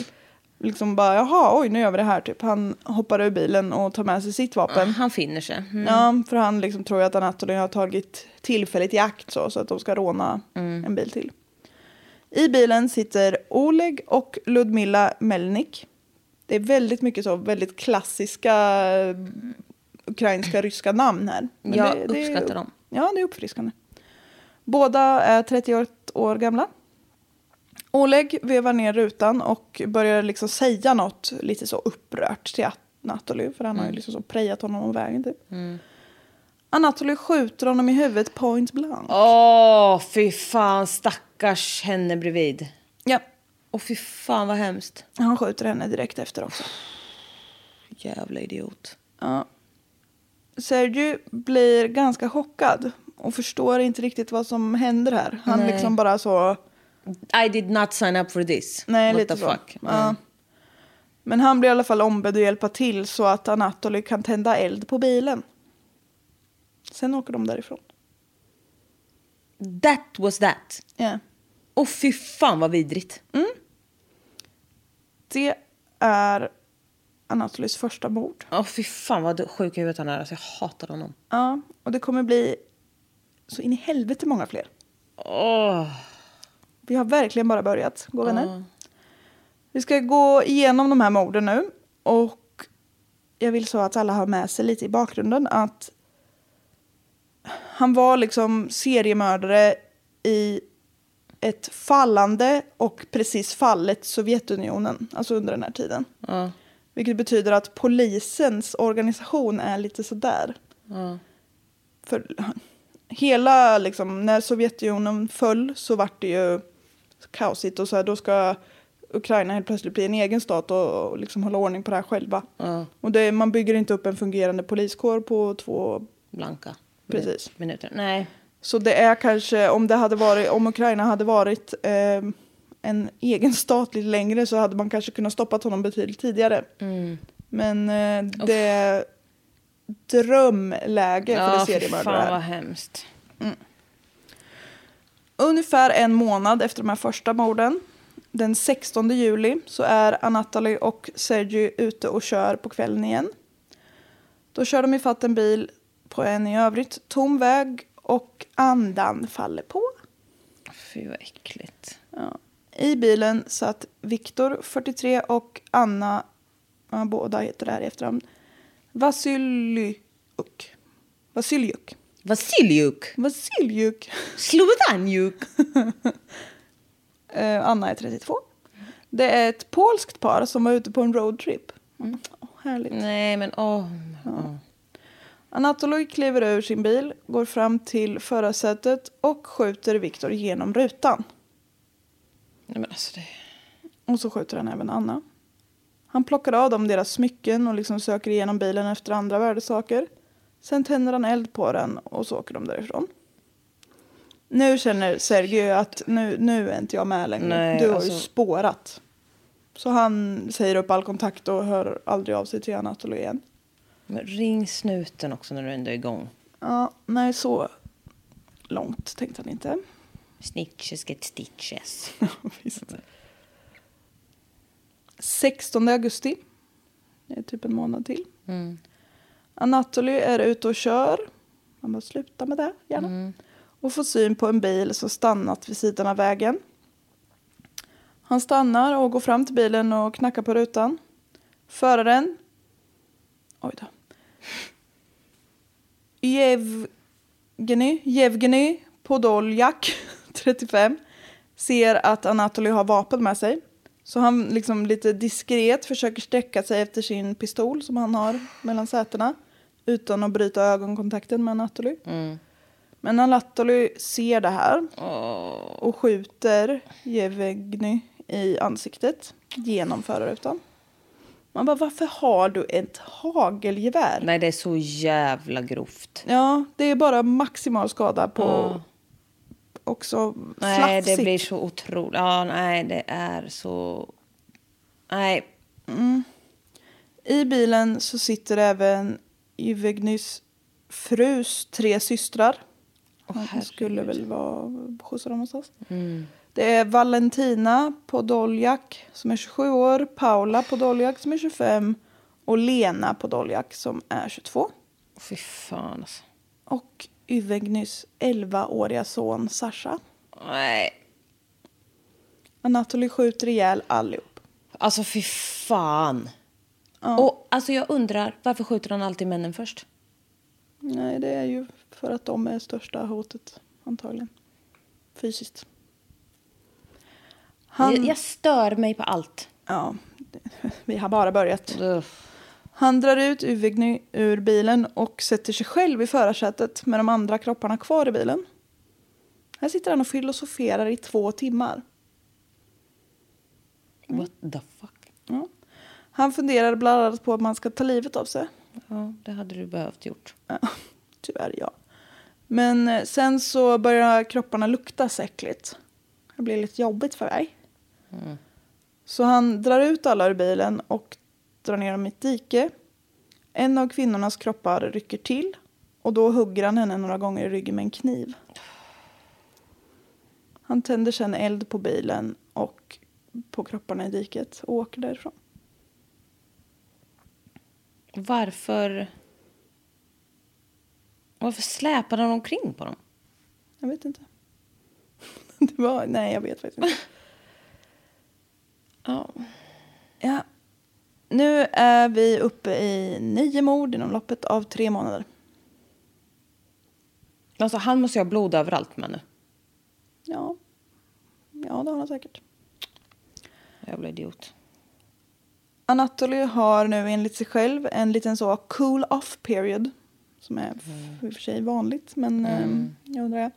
liksom bara jaha, oj nu gör vi det här typ. Han hoppar ur bilen och tar med sig sitt vapen.
Han finner sig. Mm.
Ja, för han liksom tror ju att Anatoly har tagit tillfället i akt så, så att de ska råna
Mm.
en bil till. I bilen sitter Oleg och Ludmilla Melnik. Det är väldigt mycket så, väldigt klassiska eh, ukrainska, ryska namn här.
Jag
det,
uppskattar dem.
Ja, det är uppfriskande. Båda är 31 år gamla. Oleg vevar ner rutan och börjar liksom säga något lite så upprört till Anatoly. För han har ju liksom så prejat honom om vägen typ. Anatoly skjuter honom i huvudet point blank.
Åh, fy fan stackars henne bredvid.
Ja.
Åh, fy fan vad hemskt.
Han skjuter henne direkt efter också.
Jävla idiot.
Ja. Sergio blir ganska chockad och förstår inte riktigt vad som händer här. Han
Nej.
liksom bara så...
I did not sign up for this.
Nej,
What
lite
the
så.
fuck.
Ja.
Mm.
Men han blir i alla fall ombedd att hjälpa till så att Anatoly kan tända eld på bilen. Sen åker de därifrån.
That was that.
Ja.
Åh, fy fan vad vidrigt.
Det är Anatolys första mord.
Åh, fy fan vad sjuk i huvudet han är. Alltså, jag hatar honom.
Ja, och det kommer bli så in i helvete många fler.
Åh.
Vi har verkligen bara börjat, gå vänner. Vi ska gå igenom de här morden nu. Och jag vill så att alla har med sig lite i bakgrunden att han var liksom seriemördare i ett fallande och precis fallet Sovjetunionen, alltså under den här tiden.
Ja.
Vilket betyder att polisens organisation är lite sådär.
Ja.
För hela, liksom, när Sovjetunionen föll så vart det ju kaosigt och så här, då ska Ukraina helt plötsligt bli en egen stat och, och liksom hålla ordning på det här själva.
Ja.
Och det, man bygger inte upp en fungerande poliskår på två...
Blanka.
Precis.
Minuter. Nej.
Så det är kanske, om, det hade varit, om Ukraina hade varit eh, en egen stat lite längre så hade man kanske kunnat stoppa honom betydligt tidigare.
Mm.
Men eh, det är drömläge för en
fy
seriemördare.
fan
här.
vad hemskt.
Ungefär en månad efter de här första morden, den 16 juli, så är Anatoly och Sergio ute och kör på kvällen igen. Då kör de ifatt en bil på en i övrigt tom väg och andan faller på.
Fy vad äckligt.
Ja. I bilen satt Viktor, 43, och Anna, ja, båda heter det här i efternamn, Vasiljuk. Vasiljuk.
Vasiljuk.
Vasiljuk.
Slobodanjuk.
Eh, Anna är 32. Det är ett polskt par som var ute på en roadtrip. Åh, härligt.
Nej men åh. Ja.
Anatoly kliver ur sin bil, går fram till förarsätet och skjuter Viktor genom rutan.
Nej men alltså det.
Och så skjuter han även Anna. Han plockar av dem deras smycken och liksom söker igenom bilen efter andra värdesaker. Sen tänder han eld på den och så åker de därifrån. Nu känner Sergio att nu, nu är inte jag med längre.
Nej,
du har ju
alltså-
spårat. Så han säger upp all kontakt och hör aldrig av sig till Anatoly igen.
Men ring snuten också när du ändå är igång.
Ja, nej, så långt tänkte han inte.
Snitches get stitches.
Visst. 16 augusti. Det är typ en månad till. Anatoly är ute och kör. Man måste sluta med det gärna. Och får syn på en bil som stannat vid sidan av vägen. Han stannar och går fram till bilen och knackar på rutan. Föraren. Oj då. Jevgeny, Jevgeny Podoljak, 35, ser att Anatoly har vapen med sig. Så han liksom lite diskret försöker sträcka sig efter sin pistol som han har mellan sätena utan att bryta ögonkontakten med Anatoly. Men Anatoly ser det här och skjuter Jevgenij i ansiktet genom förarrutan. Man bara, varför har du ett hagelgevär?
Nej, det är så jävla grovt.
Ja, det är bara maximal skada på också
Nej,
slafsigt.
det blir så otroligt. Ja, nej, det är så... Nej.
I bilen så sitter även Yvegnys frus tre systrar. Han skulle väl vara skjutsa dem någonstans.
Mm.
Det är Valentina Podoljak som är 27 år, Paula Podoljak som är 25 och Lena Podoljak som är 22.
Fy fan, alltså.
Och Yvegnys 11-åriga son Sasha.
Nej.
Anatoly skjuter ihjäl allihop.
Alltså, fy fan. Och alltså, jag undrar, varför skjuter han alltid männen först?
Nej, det är ju för att de är största hotet antagligen. Fysiskt. Han,
Jag, jag stör mig på allt.
Ja, vi har bara börjat. Han drar ut Uvigny ur bilen och sätter sig själv i förarsätet med de andra kropparna kvar i bilen. Här sitter han och filosoferar i två timmar.
What the fuck?
Ja. Han funderar bland annat på att man ska ta livet av sig.
Ja, det hade du behövt gjort.
Ja, tyvärr ja. Men eh, sen så börjar kropparna lukta så äckligt. Det blir lite jobbigt för mig. Så han drar ut alla ur bilen och drar ner dem i ett dike. En av kvinnornas kroppar rycker till och då hugger han henne några gånger i ryggen med en kniv. Han tänder sedan eld på bilen och på kropparna i diket och åker därifrån.
Varför... Varför släpade han omkring på dem?
Jag vet inte. Det var, nej, jag vet faktiskt inte.
Ja.
Ja. Nu är vi uppe i nio mord inom loppet av tre månader.
Alltså, han måste ju ha blod överallt med nu.
Ja, ja det har han säkert.
Jävla idiot.
Anatoly har nu enligt sig själv en liten så cool off period. Som är
Mm.
f- i och för sig vanligt, men eh, jag undrar. det.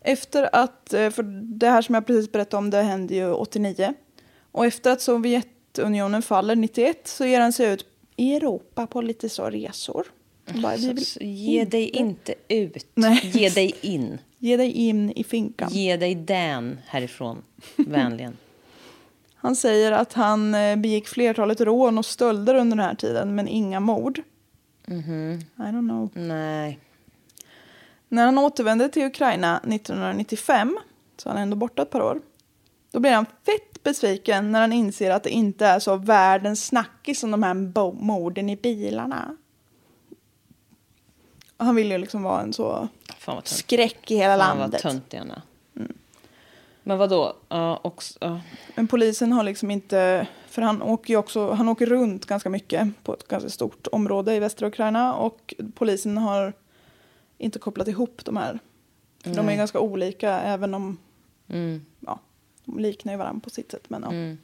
Efter att, eh, för det här som jag precis berättade om, det hände ju 89. Och efter att Sovjetunionen faller 91 så ger han sig ut i Europa på lite så resor. Han bara, "Vi vill
Så, Mm. ge dig inte ut.
Nej.
Ge dig in.
Ge dig in i finkan.
Ge dig den härifrån. Vänligen.
Han säger att han eh, begick flertalet rån och stölder under den här tiden, men inga mord.
Mm-hmm.
I don't know.
Nej.
När han återvände till Ukraina 1995, så han är ändå borta ett par år, då blir han fett besviken när han inser att det inte är så världens snackis som de här bo- morden i bilarna. Han vill ju liksom vara en så
Fan vad tönt.
skräck i hela
Fan vad
landet.
töntig han är. Mm. Men vadå? Ja, också... ja.
Men polisen har liksom inte, för han åker ju också, han åker runt ganska mycket på ett ganska stort område i västra Ukraina och polisen har inte kopplat ihop de här. För de är ganska olika även om, ja, de liknar ju varandra på sitt sätt. Men, ja.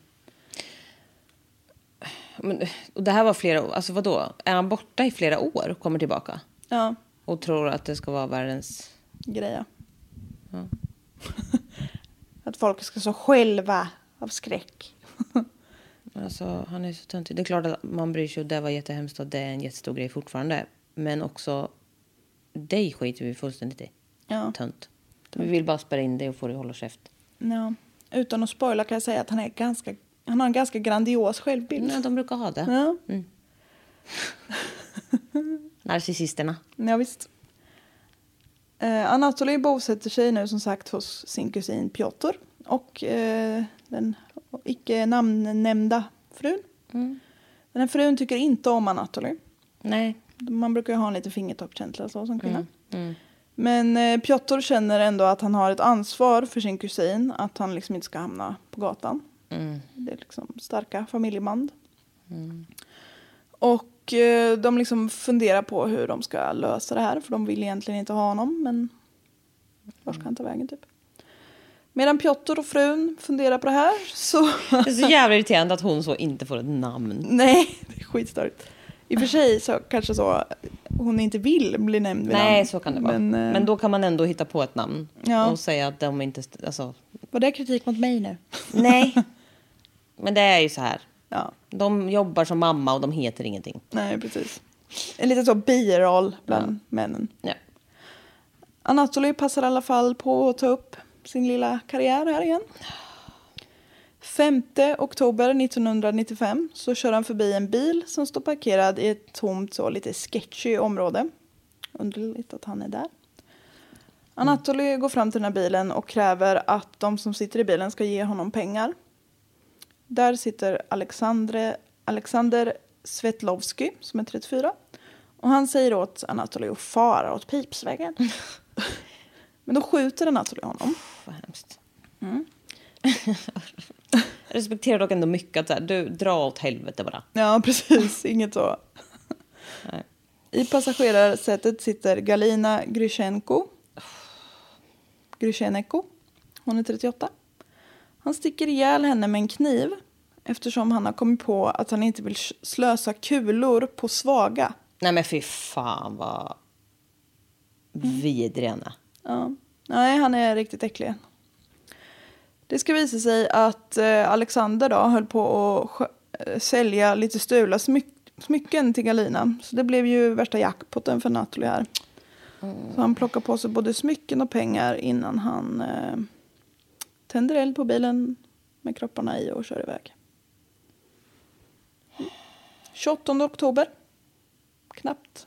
Men, och det här var flera år. Alltså vadå? Är han borta i flera år och kommer tillbaka?
ja,
Och tror att det ska vara världens...
greja. att folk ska så själva av skräck.
Alltså, han är så töntig. Det är klart att man bryr sig och det var jättehemskt och det är en jättestor grej fortfarande. Men också, dig skiter vi fullständigt i.
Ja.
Tönt. Vi vill bara spärra in dig och få dig att hålla käft.
Ja. Utan att spoila kan jag säga att han, är ganska, han har en ganska grandios självbild.
Nej, de brukar ha det.
Ja.
Narcissisterna.
Ja, visst. Eh, Anatoly bosätter sig nu som sagt hos sin kusin Piotr och eh, den icke namnnämnda frun. Den här frun tycker inte om Anatoly.
Nej.
Man brukar ju ha en liten fingertoppkänsla så som kvinna. Men eh, Piotr känner ändå att han har ett ansvar för sin kusin, att han liksom inte ska hamna på gatan. Det är liksom starka familjeband. Och eh, de liksom funderar på hur de ska lösa det här, för de vill egentligen inte ha honom, men vart ska han ta vägen typ? Medan Piotr och frun funderar på det här så...
Det är så jävla irriterande att hon så inte får ett namn.
Nej, det är skitstörigt. I och för sig så kanske så hon inte vill bli nämnd vid
Nej,
namn.
så kan det vara.
Men, eh,
Men då kan man ändå hitta på ett namn
Ja.
och säga att de inte... st- Alltså,
Var det kritik mot mig nu?
nej. Men det är ju så här.
Ja,
De jobbar som mamma och de heter ingenting.
nej precis. En liten så biroll bland männen.
Ja.
Anatoly passar i alla fall på att ta upp sin lilla karriär här igen. 5 oktober 1995 så kör han förbi en bil som står parkerad i ett tomt så lite sketchy område. Underligt att han är där. Anatoly går fram till den här bilen och kräver att de som sitter i bilen ska ge honom pengar. Där sitter Alexandre, Alexander Svetlovsky som är 34. Och han säger åt Anatoly att fara åt pipsvägen. Men då skjuter Anatoly honom.
Pff, Vad hemskt.
Mm.
Jag respekterar dock ändå mycket att så här, du dra åt helvete bara.
Ja, precis. Inget så.
Nej.
I passagerarsätet sitter Galina Gryshenko. Grysheneko. Hon är 38. Han sticker ihjäl henne med en kniv eftersom han har kommit på att han inte vill slösa kulor på svaga.
Nej men fy fan vad
Mm.
vidrig han är.
Ja. Nej, han är riktigt äcklig. Det ska visa sig att eh, Alexander då höll på att skö- eh, sälja lite stulna smyck smycken till Galina. Så det blev ju värsta jackpotten för Nathalie här. Så han plockar på sig både smycken och pengar innan han eh, tänder eld på bilen med kropparna i och kör iväg. 28 oktober. Knappt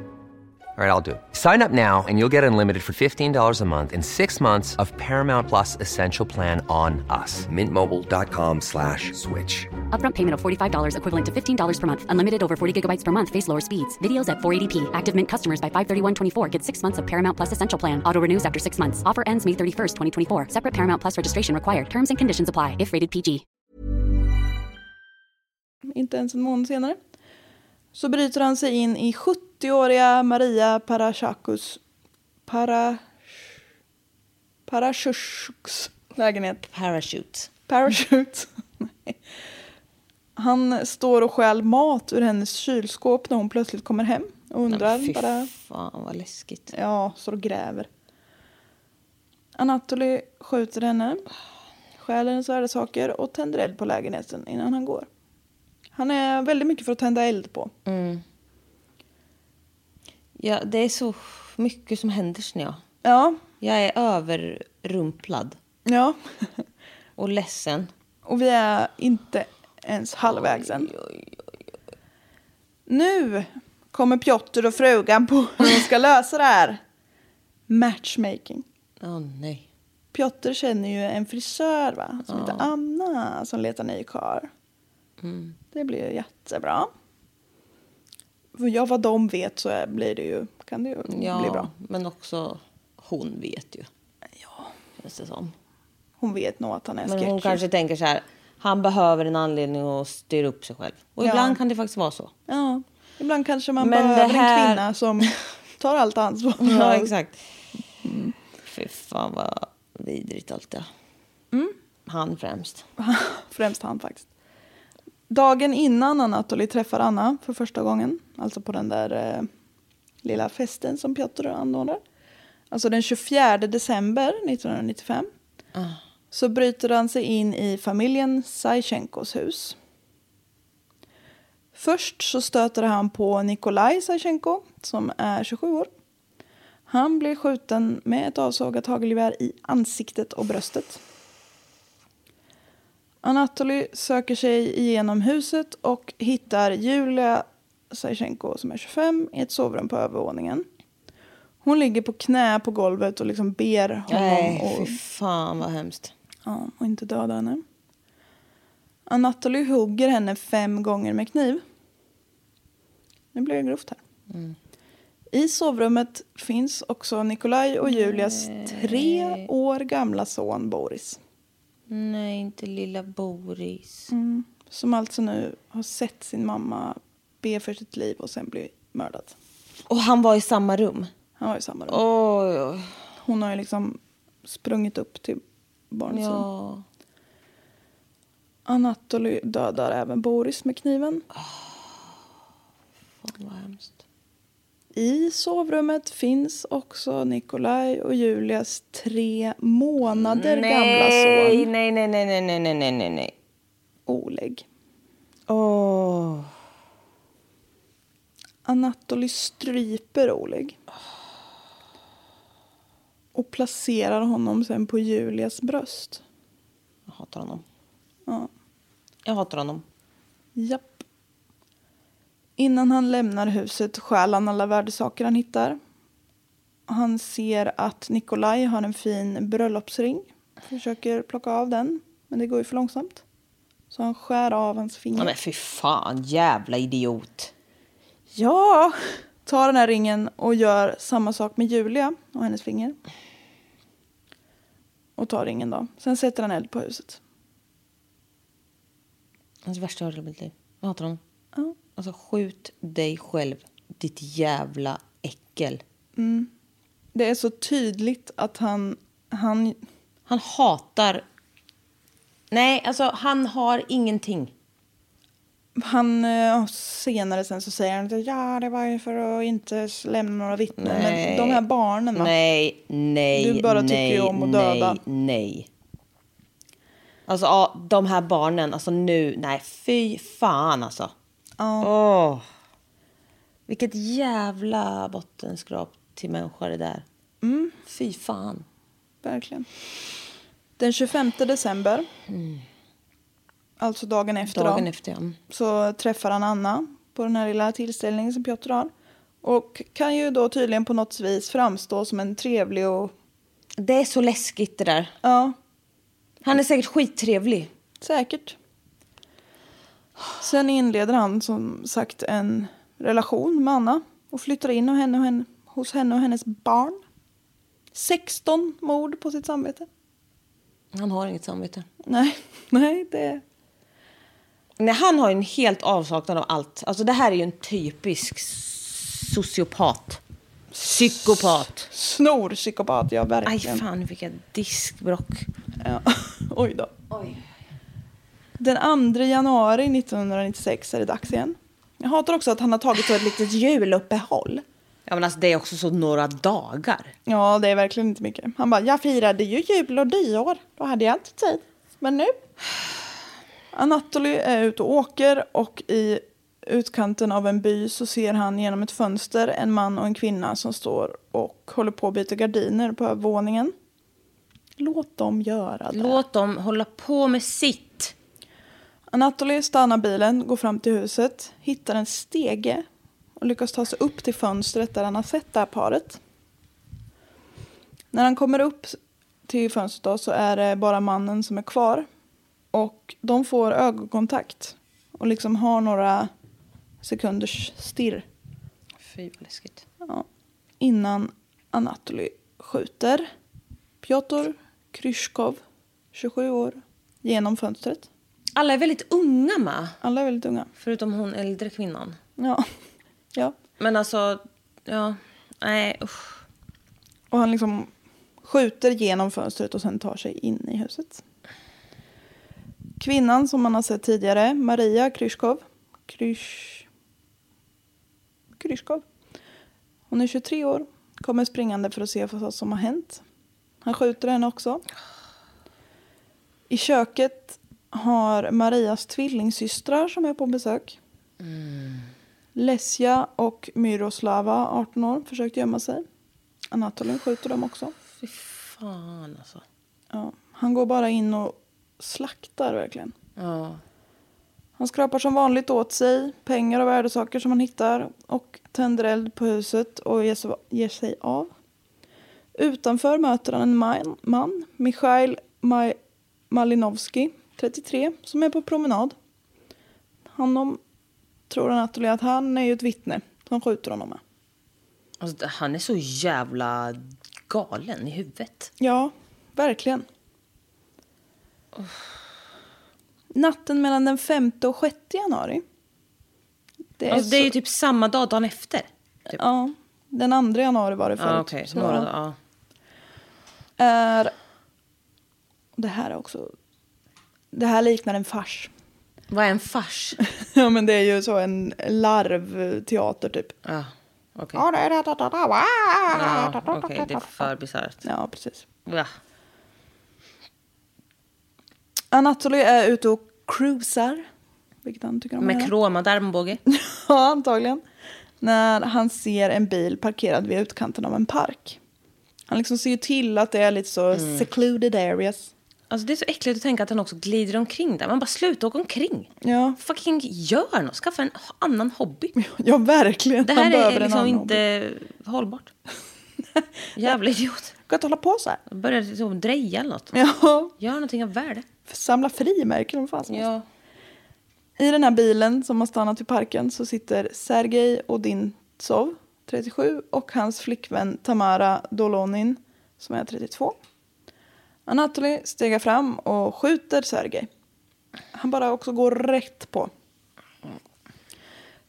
All right, I'll do it. Sign up now and you'll get unlimited for $15 a month in six months of Paramount Plus Essential Plan on us. Mintmobile.com slash switch.
Upfront payment of $45 equivalent to $15 per month. Unlimited over 40 gigabytes per month. Face lower speeds. Videos at 480p. Active Mint customers by 531.24 get six months of Paramount Plus Essential Plan. Auto renews after six months. Offer ends May 31st, 2024. Separate Paramount Plus registration required. Terms and conditions apply if rated PG.
inte ens en månad senare, så bryter han sig in i 70-åriga Maria Parachakus para, Parashuks lägenhet.
Parachute.
Parachute. Nej. han står och stjäl mat ur hennes kylskåp när hon plötsligt kommer hem och undrar
Nej, men fy
bara
fan vad läskigt.
Ja, så och gräver. Anatoly skjuter henne, stjäl hennes värdesaker och tänder eld på lägenheten innan han går. Han är väldigt mycket för att tända eld på.
Ja, det är så mycket som händer snö.
Ja,
Jag är överrumplad
ja.
och ledsen.
Och vi är inte ens halvvägs än. Nu kommer Piotr och frugan på hur de ska lösa det här. Matchmaking.
Åh nej.
Piotr känner ju en frisör va? som heter Anna som letar ny karl.
Mm.
Det blir ju jättebra. För ja, vad de vet så är- blir det ju, kan det ju bli bra.
Ja, men också hon vet ju. Ja. Känns det som.
Hon vet nog att han är
Men
sketchy.
hon kanske tänker så här. Han behöver en anledning att styra upp sig själv. Och
Ja.
ibland kan det faktiskt vara så.
Ja, ibland kanske man
Men det
behöver
här-
en kvinna som tar allt ansvar.
Ja, exakt. Fy fan vad Mm. vidrigt allt det. Han främst.
Främst han faktiskt. Dagen innan Anatoly träffar Anna för första gången, alltså på den där eh, lilla festen som Piotr anordnar. Alltså den 24 december 1995 så bryter han sig in i familjen Saichenkos hus. Först så stöter han på Nikolaj Saichenko som är 27 år. Han blir skjuten med ett avsågat hagelgevär i ansiktet och bröstet. Anatoly söker sig igenom huset och hittar Julia Saichenko som är 25 i ett sovrum på övervåningen. Hon ligger på knä på golvet och liksom ber honom
Nej,
och
fy fan vad hemskt.
Ja, och inte döda henne. Anatoly hugger henne fem gånger med kniv. Nu blir det grovt här. I sovrummet finns också Nikolaj och Julias tre år gamla son Boris.
Nej, inte lilla Boris.
Som alltså nu har sett sin mamma be för sitt liv och sen bli mördad.
Och han var i samma rum.
Han var i samma rum.
Oj, oj.
Hon har ju liksom sprungit upp till
Alltså.
barnets rum.
Ja.
Anatoly dödar även Boris med kniven.
Fan vad hemskt.
I sovrummet finns också Nikolaj och Julias tre månader gamla
nej,
son
nej, nej, nej, nej, nej, nej, nej, nej, nej.
Oleg.
Åh.
Anatoly stryper Oleg. Och placerar honom sen på Julias bröst.
Jag hatar honom.
Ja.
Jag hatar honom.
Japp. Innan han lämnar huset stjäl han alla värdesaker han hittar. Han ser att Nikolaj har en fin bröllopsring. Försöker plocka av den, men det går ju för långsamt. Så han skär av hans
Ja,
finger.
men fy fan, jävla idiot.
Ja! Tar den här ringen och gör samma sak med Julia och hennes finger. Och tar ringen då. Sen sätter han eld på huset.
Hans värsta jag hört i mitt liv. Jag hatar honom.
Ja.
Alltså skjut dig själv, ditt jävla äckel.
Det är så tydligt att han... han
Han hatar... Nej, alltså han har ingenting.
Han eh, senare sen så säger han att ja, det var ju för att inte lämna några vittnen. Men
Nej.
de här barnen va?
Nej, nej,
Du bara
nej,
tycker ju om att döda.
Nej, nej. Alltså ja, de här barnen, alltså nu, nej fy fan alltså.
Ja.
Åh. Vilket jävla bottenskrap till människa det där. Fy fan.
Verkligen. Den 25 december, alltså dagen efter,
Mm. Dagen
då,
efter ja. Mm.
så träffar han Anna på den här lilla tillställningen som Piotr har. Och kan ju då tydligen på något vis framstå som en trevlig och...
Det är så läskigt det där.
Ja,
Han är säkert skittrevlig.
Säkert. Sen inleder han som sagt en relation med Anna och flyttar in och henne och henne, hos henne och hennes barn. 16 mord på sitt samvete.
Han har inget samvete.
Nej, nej, det...
Nej, han har ju en helt avsaknad av allt. Alltså det här är ju en typisk sociopat. Psykopat.
Snorpsykopat, ja
Aj
verkligen.
fan, nu fick jag diskbrock.
Ja. Oj då. Den 2 januari 1996 är det dags igen. Jag hatar också att han har tagit så ett litet juluppehåll.
Ja men alltså det är också så några dagar.
Ja, det är verkligen inte mycket. Han bara, jag firade ju jul och nyår. Då hade jag inte tid. Men nu. Anatoly är ute och åker och i utkanten av en by så ser han genom ett fönster en man och en kvinna som står och håller på att byta gardiner på övervåningen. Låt dem göra det.
Låt dem hålla på med sitt.
Anatoly stannar bilen, går fram till huset, hittar en stege och lyckas ta sig upp till fönstret där han har sett det här paret. När han kommer upp till fönstret då, så är det bara mannen som är kvar. Och de får ögonkontakt och liksom har några sekunders stirr
Fy vad läskigt.
ja, innan Anatoly skjuter Piotr Kryshkov, 27 år, genom fönstret.
Alla är väldigt unga med.
Alla är väldigt unga.
Förutom hon äldre kvinnan.
Ja. ja.
Men alltså, ja. Nej usch.
Och han liksom skjuter genom fönstret och sen tar sig in i huset. Kvinnan som man har sett tidigare, Maria Kryshkov. Krysh... Kryshkov. Hon är 23 år, kommer springande för att se vad som har hänt. Han skjuter henne också. I köket har Marias tvillingsystrar som är på besök. Lesja och Myroslava, 18 år, försökt gömma sig. Anatolin skjuter dem också.
Fy fan alltså.
Ja, han går bara in och slaktar verkligen.
Ja.
Han skrapar som vanligt åt sig pengar och värdesaker som han hittar och tänder eld på huset och ger sig- ger sig av. Utanför möter han en man, man Michail Maj- Malinowski, 33, som är på promenad. Han om, tror Anatoly att han är ju ett vittne som skjuter honom med.
Alltså, det- han är så jävla galen i huvudet.
Ja, verkligen. Natten mellan den 5 och 6 januari. Det
Alltså, det är ju
så-
typ samma dag dagen efter. Typ.
Ja, den 2 januari var det förut.
Ja, okej.
Så
Några
ja.
dagar. Ja.
är... Det här är också... Det här liknar en fars.
Vad är en fars?
ja, men det är ju så en larvteater typ.
Ja, okej. Ja,
Ja,
okej, det är för bisarrt.
Ja, precis.
Ja.
Anatoly är ute och cruisar. Vilket han tycker om att
Med
göra.
kromad armbåge.
Ja, antagligen. När han ser en bil parkerad vid utkanten av en park. Han liksom ser ju till att det är lite så
Mm.
secluded areas.
Alltså, det är så äckligt att tänka att han också glider omkring där. Man bara sluta åka omkring.
Ja,
Fucking gör något. Skaffa en h- annan hobby.
ja verkligen.
Det
Han
här
behöver
är
en
liksom
annan hobby.
inte hållbart. Jävla idiot.
Kan inte hålla på så här.
Börja liksom dreja eller något.
Ja,
Gör någonting av värde.
samla frimärken om fan som helst. I den här bilen som har stannat i parken så sitter Sergej Odintsov, 37, och hans flickvän Tamara Dolonin, som är 32. Anatoly stegar fram och skjuter Sergej. Han bara också går rätt på.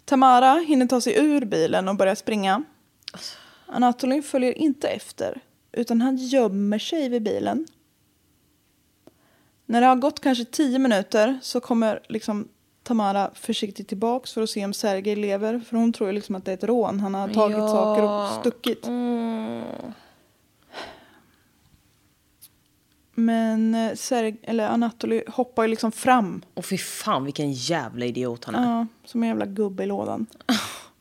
Tamara hinner ta sig ur bilen och börjar springa. Anatoly följer inte efter, utan han gömmer sig vid bilen. När det har gått kanske tio minuter så kommer liksom Tamara försiktigt tillbaks för att se om Sergej lever. För hon tror ju liksom att det är ett rån. Han har tagit
Ja.
saker och stuckit.
Mm.
Men eh, Serg- eller Anatoly hoppar ju liksom fram.
Och fy fan vilken jävla idiot han är.
Ja, som en jävla gubbe i lådan.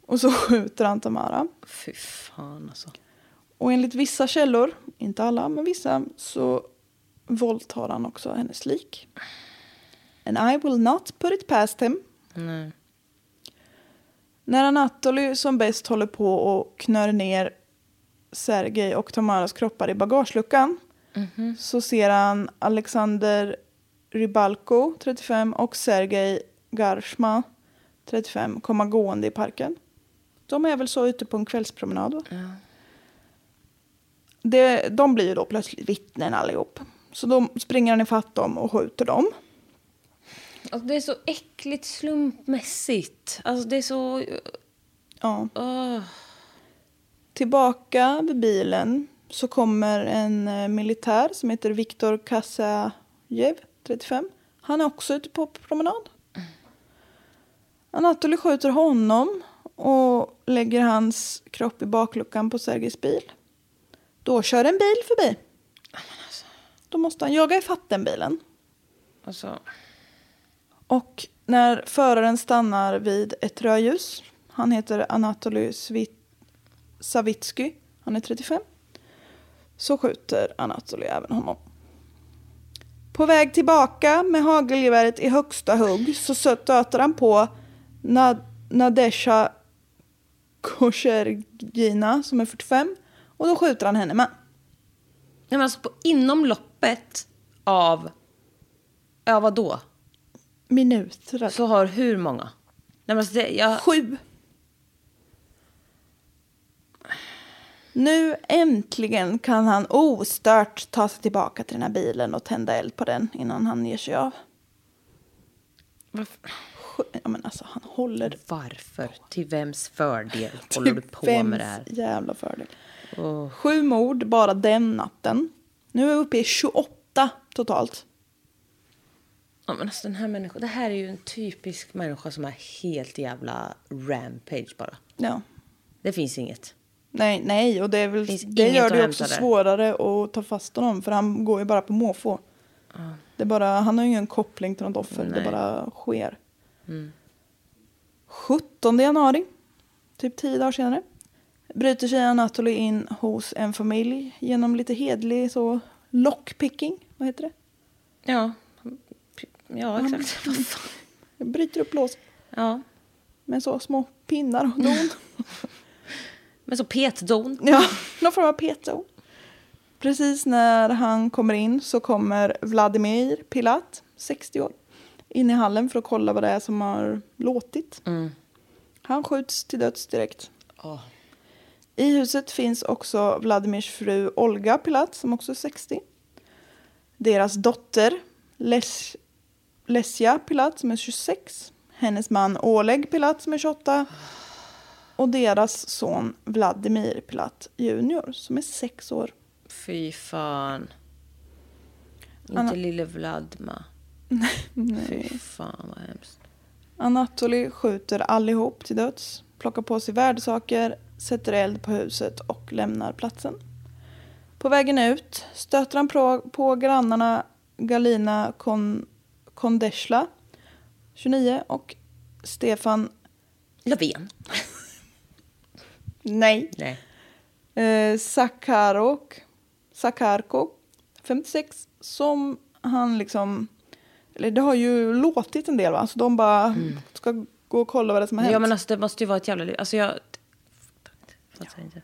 Och så skjuter han Tamara.
Fy fan alltså.
Och enligt vissa källor, inte alla, men vissa, så våldtar han också hennes lik. And I will not put it past him.
Nej.
När Anatoly som bäst håller på och knör ner Sergej och Tamaras kroppar i bagageluckan så ser han Alexander Rybalko, 35, och Sergej Garshma, 35, komma gående i parken. De är väl så ute på en kvällspromenad? Va? Det, de blir ju då plötsligt vittnen allihop. Så då springer han ifatt dem och skjuter dem.
Alltså, det är så äckligt slumpmässigt. Alltså det är så... uh,
Ja.
Åh.
Tillbaka vid bilen så kommer en eh, militär som heter Viktor Kasajev, 35. Han är också ute på promenad. Anatoly skjuter honom och lägger hans kropp i bakluckan på Sergejs bil. Då kör en bil förbi. Då måste han jaga ifatt den bilen.
Alltså...
Och när föraren stannar vid ett rödljus, han heter Anatoly Svit- Savitsky, han är 35, så skjuter Anatoly även honom. På väg tillbaka med hagelgeväret i högsta hugg så stöter han på Nad- Nadesha Koshergina som är 45 och då skjuter han henne med.
Nej, men alltså på, inom loppet av... Ja, vadå?
Minuter.
Så har hur många? Nej, men alltså det, jag,
Sju. Nu äntligen kan han ostört ta sig tillbaka till den här bilen och tända eld på den innan han ger sig av.
varför,
Sju- Ja men alltså han håller
varför? Till vems fördel håller du på med det här?
vems jävla fördel. Sju mord bara den natten. Nu är vi uppe i 28 totalt.
Ja, men alltså den här människan, det här är ju en typisk människa som är helt jävla rampage bara.
Ja.
Det finns inget.
Nej, nej, och det, är väl,
Finns
det
inget
gör
att
det ju också
hämta där.
svårare att ta fast honom för han går ju bara på måfå. Det är bara, han har ju ingen koppling till något offer, det bara sker.
Mm.
17 januari, typ 10 dagar senare, bryter sig Anatoly in hos en familj genom lite hedlig så lockpicking, vad heter det?
Ja, ja exakt. Vad fan.
Bryter upp lås
Ja.
med så små pinnar och don.
Men så petdon.
Ja, någon form av petzon. Precis när han kommer in så kommer Vladimir Pilat, 60 år, in i hallen för att kolla vad det är som har låtit. Han skjuts till döds direkt. I huset finns också Vladimirs fru Olga Pilat, som också är 60. Deras dotter Les- Lesja Pilat, som är 26. Hennes man Oleg Pilat, som är 28. Och deras son Vladimir Pilat junior som är sex år.
Fy fan. Inte
Anna-
lille Vladma.
Nej.
Fy fan vad hemskt.
Anatoly skjuter allihop till döds, plockar på sig värdesaker, sätter eld på huset och lämnar platsen. På vägen ut stöter han på, på grannarna Galina Kon, Kondesla, 29, och Stefan...
Löfven.
Nej.
Nej.
Eh, Sakarok, Sakarko, 56, som han liksom... Eller det har ju låtit en del, va? Så de bara ska gå och kolla vad det är som har hänt.
Mm. Ja men alltså det måste ju vara ett jävla liv. Alltså jag... Fattar inte.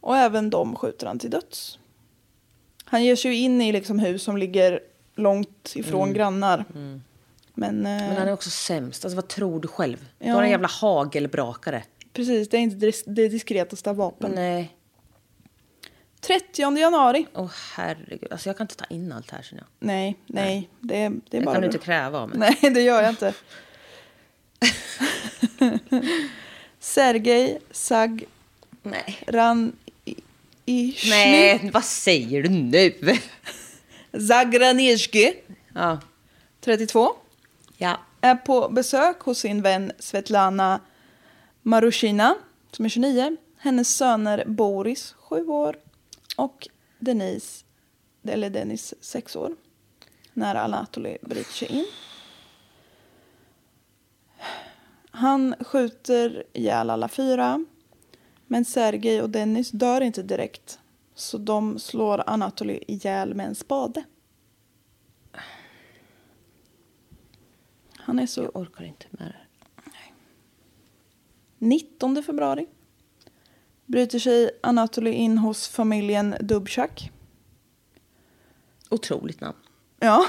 Och även de skjuter han till döds. Han ger sig ju in i liksom hus som ligger långt ifrån grannar. Men, eh,
Mm. Men han är också sämst. Alltså vad tror du själv? Du
Ja.
har en jävla hagelbrakare.
precis, det är inte dis- det diskretaste av
Mm.
vapen.
Nej.
30 januari.
Åh herregud. Alltså jag kan inte ta in allt här känner jag.
Nej, nej, det, är- det är
Det
bara
kan du
du.
inte kräva av mig.
Nej, det gör jag inte. Sergej
Nej.
Sagranishny
Nej, vad säger du nu?
Zagranishky,
Ja.
32,
Ja.
är på besök hos sin vän Svetlana Marushina, som är 29. Hennes söner Boris, 7 år, och Denise, eller Dennis, 6 år, när Anatoly bryter sig in. Han skjuter ihjäl alla fyra, men Sergej och Dennis dör inte direkt, så de slår Anatoly ihjäl med en spade. Han är så
Jag orkar inte med det.
19 februari bryter sig Anatoly in hos familjen Dubchak.
Otroligt namn.
Ja.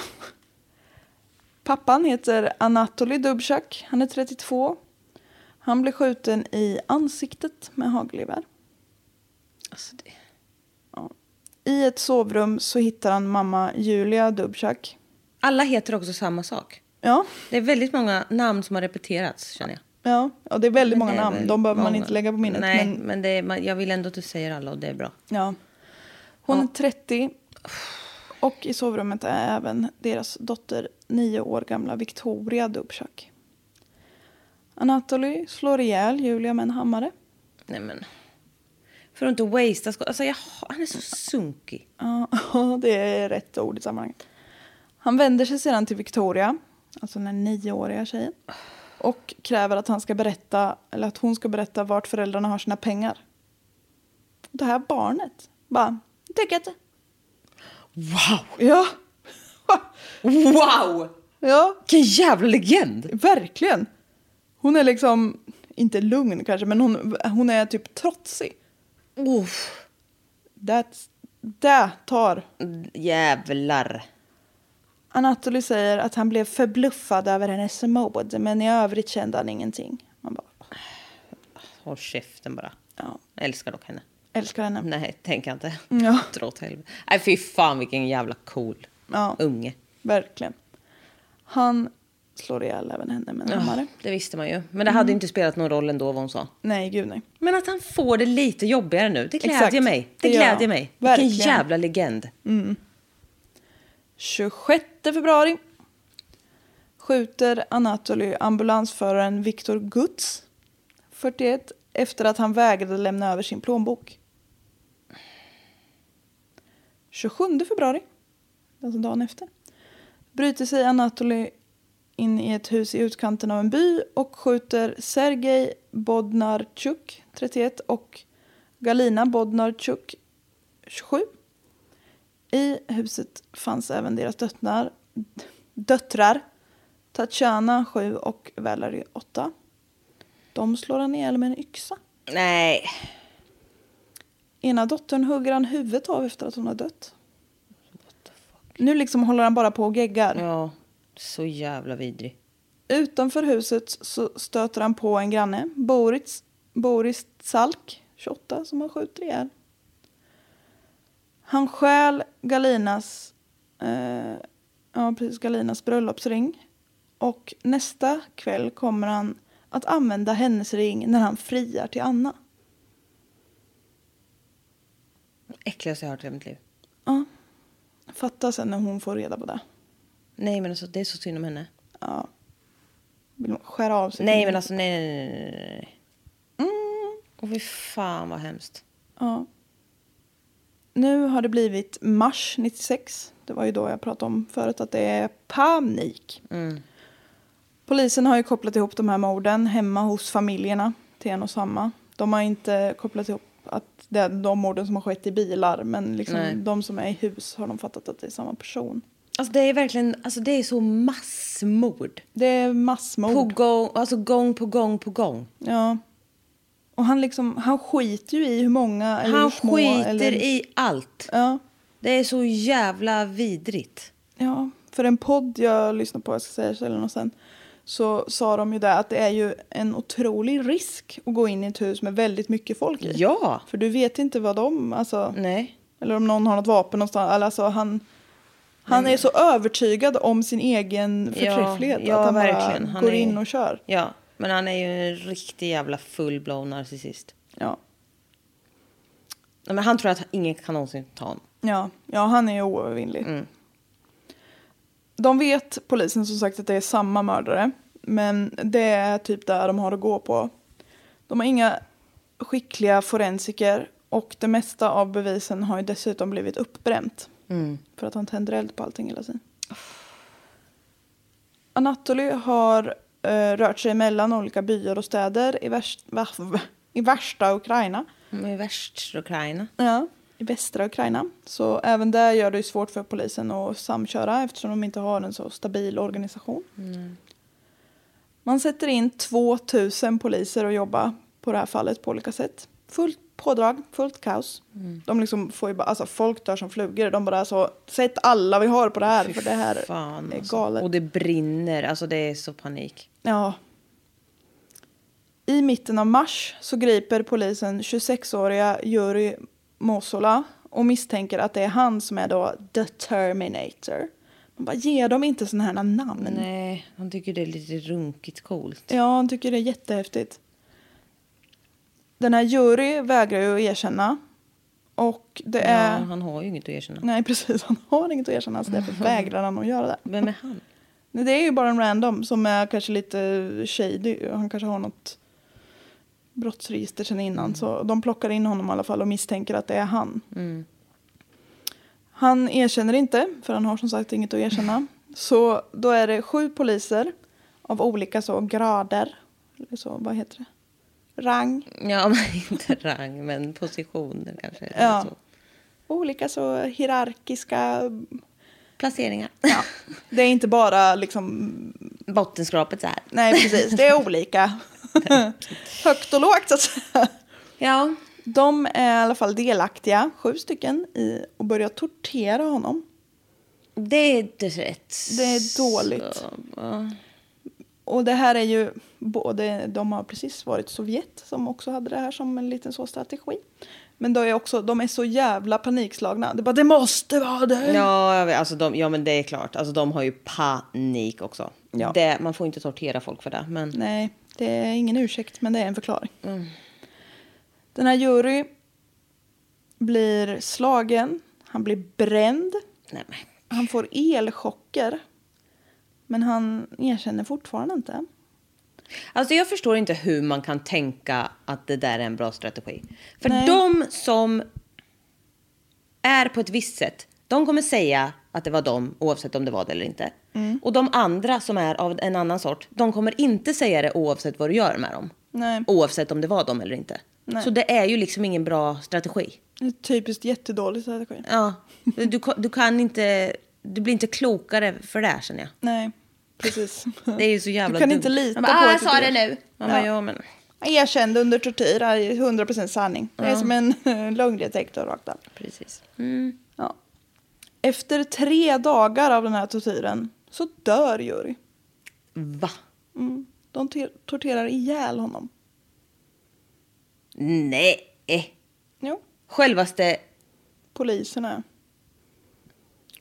Pappan heter Anatoly Dubchak. Han är 32. Han blir skjuten i ansiktet med hagelgevär.
Alltså det...
I ett sovrum så hittar han mamma Julia Dubchak.
Alla heter också samma sak.
Ja,
Det är väldigt många namn som har repeterats känner jag.
ja. ja det är väldigt
Men
många
det är
namn.
väl
De behöver man
många.
inte lägga på minnet.
Nej, men,
men,
det är, man, jag vill ändå att du säger alla och det är bra.
ja. Hon
Ja.
är 30. Och i sovrummet är även deras dotter, nio år gamla Victoria Dubchak. Anatoly slår ihjäl Julia med en hammare.
Nej men. För att inte wastea skott. Alltså jag, han är så sunkig.
Ja, det är rätt ord i sammanhanget. Han vänder sig sedan till Victoria, alltså den här nioåriga tjejen, och kräver att, han ska berätta, eller att hon ska berätta vart föräldrarna har sina pengar. Det här barnet bara, "Det tycker jag inte.
Wow!
Ja,
Wow!
ja,
Vilken jävla legend!
verkligen. Hon är liksom, inte lugn kanske, men hon, hon är typ trotsig.
Uff.
That's, det tar
Jävlar.
Anatoly säger att han blev förbluffad över hennes mod, men i övrigt kände han ingenting. Man bara,
Håll käften bara.
ja,
Jag älskar dock henne.
älskar henne.
Nej, tänker jag inte.
Ja.
Dra åt helvete. Nej, fy fan vilken jävla cool
Ja.
unge.
Verkligen. Han slår ihjäl även henne med en hammare.
Ah, det visste man ju. Men det hade ju inte spelat någon roll ändå vad hon sa.
Nej, gud nej.
Men att han får det lite jobbigare nu, det glädjer
Exakt.
mig. Det
Det gör
glädjer
han.
mig.
Verkligen.
Vilken jävla legend.
26 februari skjuter Anatoly ambulansföraren Viktor Guts, 41, efter att han vägrade lämna över sin plånbok. 27 februari, alltså dagen efter, bryter sig Anatoly in i ett hus i utkanten av en by och skjuter Sergej Bodnarchuk, 31, och Galina Bodnarchuk, 27. I huset fanns även deras döttrar, döttrar Tatjana, 7, och Valerie, 8. De slår han ihjäl med en yxa.
Nej.
Ena dottern hugger han huvudet av efter att hon har dött. Nu liksom håller han bara på och geggar.
Ja, så jävla vidrig.
Utanför huset så stöter han på en granne, Boris, Boris Salk, 28, som han skjuter ihjäl. Han stjäl Galinas, eh, ja, precis, Galinas bröllopsring och nästa kväll kommer han att använda hennes ring när han friar till Anna.
Äckligaste jag har hört i hela mitt liv.
Ja. Fatta sen när hon får reda på det.
Nej, men alltså det är så synd om henne.
Ja. Vill man skära av sig?
Nej, men alltså nej, nej, nej, nej, nej.
Mm.
Åh, fy fan vad hemskt.
Ja. Nu har det blivit mars 96. Det var ju då jag pratade om förut att det är panik.
Mm.
Polisen har ju kopplat ihop de här morden hemma hos familjerna till en och samma. De har inte kopplat ihop att det är de morden som har skett i bilar men
Nej.
liksom de som är i hus har de fattat att det är samma person.
Alltså det är verkligen, alltså det är så massmord.
Det är massmord.
På gång, alltså gång på gång på gång.
Ja. Och han, liksom, han skiter ju i hur många eller hur
Han
små.
skiter
eller...
i allt.
Ja.
Det är så jävla vidrigt.
ja, för en podd jag lyssnade på, jag ska säga eller något sen, så sa de ju det att det är ju en otrolig risk att gå in i ett hus med väldigt mycket folk i.
Ja.
För du vet inte vad de, alltså,
Nej.
eller om någon har något vapen någonstans. Eller alltså, han han är så övertygad om sin egen förträfflighet
ja,
att han
verkligen.
bara
Han
går
är-
in och kör.
Ja, men han är ju en riktig jävla full-blown narcissist.
Ja.
Nej, men han tror att ingen kan någonsin ta honom.
Ja, ja han är ju oövervinnlig. De vet, polisen, som sagt att det är samma mördare. Men det är typ där de har att gå på. De har inga skickliga forensiker och det mesta av bevisen har ju dessutom blivit uppbränt. För att han tänder eld på allting hela tiden. Anatoly har eh, rört sig mellan olika byar och städer i, värst, va, i värsta Ukraina.
Men i värst Ukraina.
Ja, i västra Ukraina. Så även där gör det ju svårt för polisen att samköra eftersom de inte har en så stabil organisation.
Mm.
Man sätter in 2000 poliser och jobbar på det här fallet på olika sätt. Fullt pådrag, fullt kaos.
Mm.
De liksom får ju bara, alltså folk dör som flugor. De bara så, sätt alla vi har på det här för det här
Fan,
är
alltså.
galet.
Och det brinner. Alltså det är så panik.
Ja. I mitten av mars så griper polisen 26-åriga Juri Mosola och misstänker att det är han som är då The Terminator. Man bara, ge dem inte sådana här namn.
Nej, han tycker det är lite runkigt coolt.
Ja, han tycker det är jättehäftigt. Den här Juri vägrar ju att erkänna. Och det är...
Ja, han har ju inget att erkänna.
Nej, precis. Han har inget att erkänna, så därför vägrar han att göra det.
Vem är han?
Nej, det är ju bara en random som är kanske lite shady. Han kanske har något brottsregister sedan innan. Så de plockar in honom i alla fall och misstänker att det är han. Han erkänner inte, för han har som sagt inget att erkänna. Så då är det sju poliser av olika så grader. Eller så, vad heter det? Rang.
Ja, men inte rang, men positioner kanske. eller
Ja.
Så.
Olika så hierarkiska.
Placeringar.
Det är inte bara liksom
Bottenskrapet så här.
Nej, precis. Det är olika. Högt och lågt, så att säga.
Ja.
De är i alla fall delaktiga, sju stycken, i att börja tortera honom.
Det är inte rätt.
Det är dåligt.
Så, ja.
Och det här är ju både, de har precis varit Sovjet som också hade det här som en liten så strategi. Men de är också, de är så jävla panikslagna. Det är bara, det måste vara det!
Ja, jag vet, alltså de, ja, men det är klart. Alltså, de har ju panik också.
Ja.
Det, man får inte tortera folk för det. Men
Nej, det är ingen ursäkt, men det är en förklaring. Den här jury blir slagen, han blir bränd.
nej, men
Han får elchocker. Men han erkänner fortfarande inte.
Alltså jag förstår inte hur man kan tänka att det där är en bra strategi. För
Nej.
de som är på ett visst sätt, de kommer säga att det var de oavsett om det var det eller inte.
Mm.
Och de andra som är av en annan sort, de kommer inte säga det oavsett vad du gör med dem.
Nej.
Oavsett om det var de eller inte.
Nej.
Så det är ju liksom ingen bra strategi.
Det är Typiskt jättedålig strategi.
Ja, du, ko- du kan inte, du blir inte klokare för det här känner jag.
Nej, precis.
Det är ju så jävla
Mm. Du kan
dumt.
inte lita
Man bara, ah,
på att
jag
du
sa det
gör."
nu. Man bara,
Ja.
ja men.
Han erkände under tortyr, det här är 100% sanning. Det är som en lögndetektor rakt av.
Precis.
Ja. Efter tre dagar av den här tortyren så dör Juri.
Va?
Mm. De te- torterar ihjäl honom.
Nej.
Jo,
Självaste...
poliserna.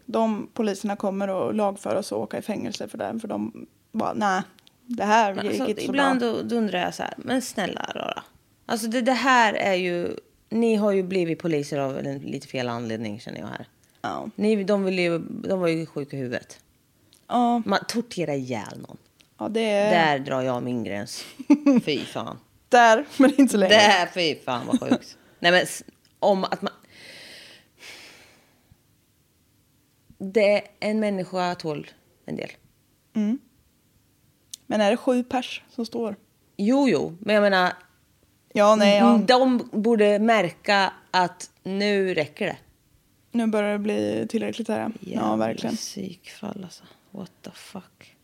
De poliserna kommer och lagför oss och åka i fängelse för det. För de bara, nej, det här gick
Alltså,
inte så
ibland
bra.
då, då undrar jag så här, men snälla rara. Alltså det, det här är ju... Ni har ju blivit poliser av en lite fel anledning känner jag här.
Ja.
Ni, de, ville ju, de var ju sjuka i huvudet.
Ja,
Man torterar ihjäl någon.
ja, det är där.
Där drar jag min gräns. Fy fan.
men inte så länge.
Det här, fy fan vad sjukt. Nej men s- om att man... Det en människa tål en del.
Men är det sju pers som står?
Jo, jo, men jag menar,
Ja, nej, ja.
Mm, de borde märka att nu räcker det.
Nu börjar det bli tillräckligt här. Ja,
Jävla
verkligen.
Psykfall alltså. What the fuck.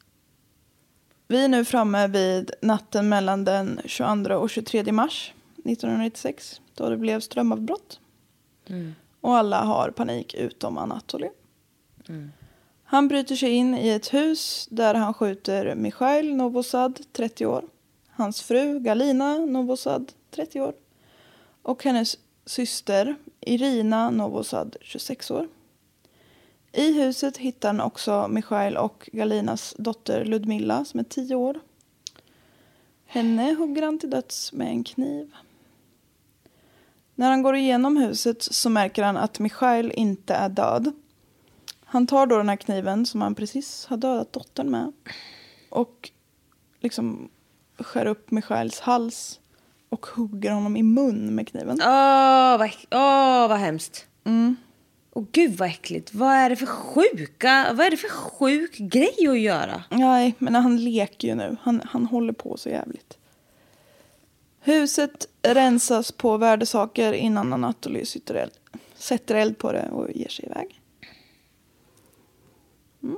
Vi är nu framme vid natten mellan den 22 och 23 mars 1996 då det blev strömavbrott. Och alla har panik utom Anatoly. Han bryter sig in i ett hus där han skjuter Mikhail Novosad, 30 år, hans fru Galina Novosad, 30 år och hennes syster Irina Novosad, 26 år. I huset hittar han också Michail och Galinas dotter Ludmilla som är 10 år. Henne hugger han till döds med en kniv. När han går igenom huset så märker han att Michail inte är död. Han tar då den här kniven som han precis har dödat dottern med och liksom skär upp Michails hals och hugger honom i mun med kniven.
Åh, vad, äck- åh, vad hemskt. Åh, gud vad äckligt. Vad är det för sjuka, vad är det för sjuk grej att göra?
Nej, men han leker ju nu. Han, han håller på så jävligt. Huset rensas på värdesaker innan Anatoly sätter eld, sätter eld på det och ger sig iväg. Mm.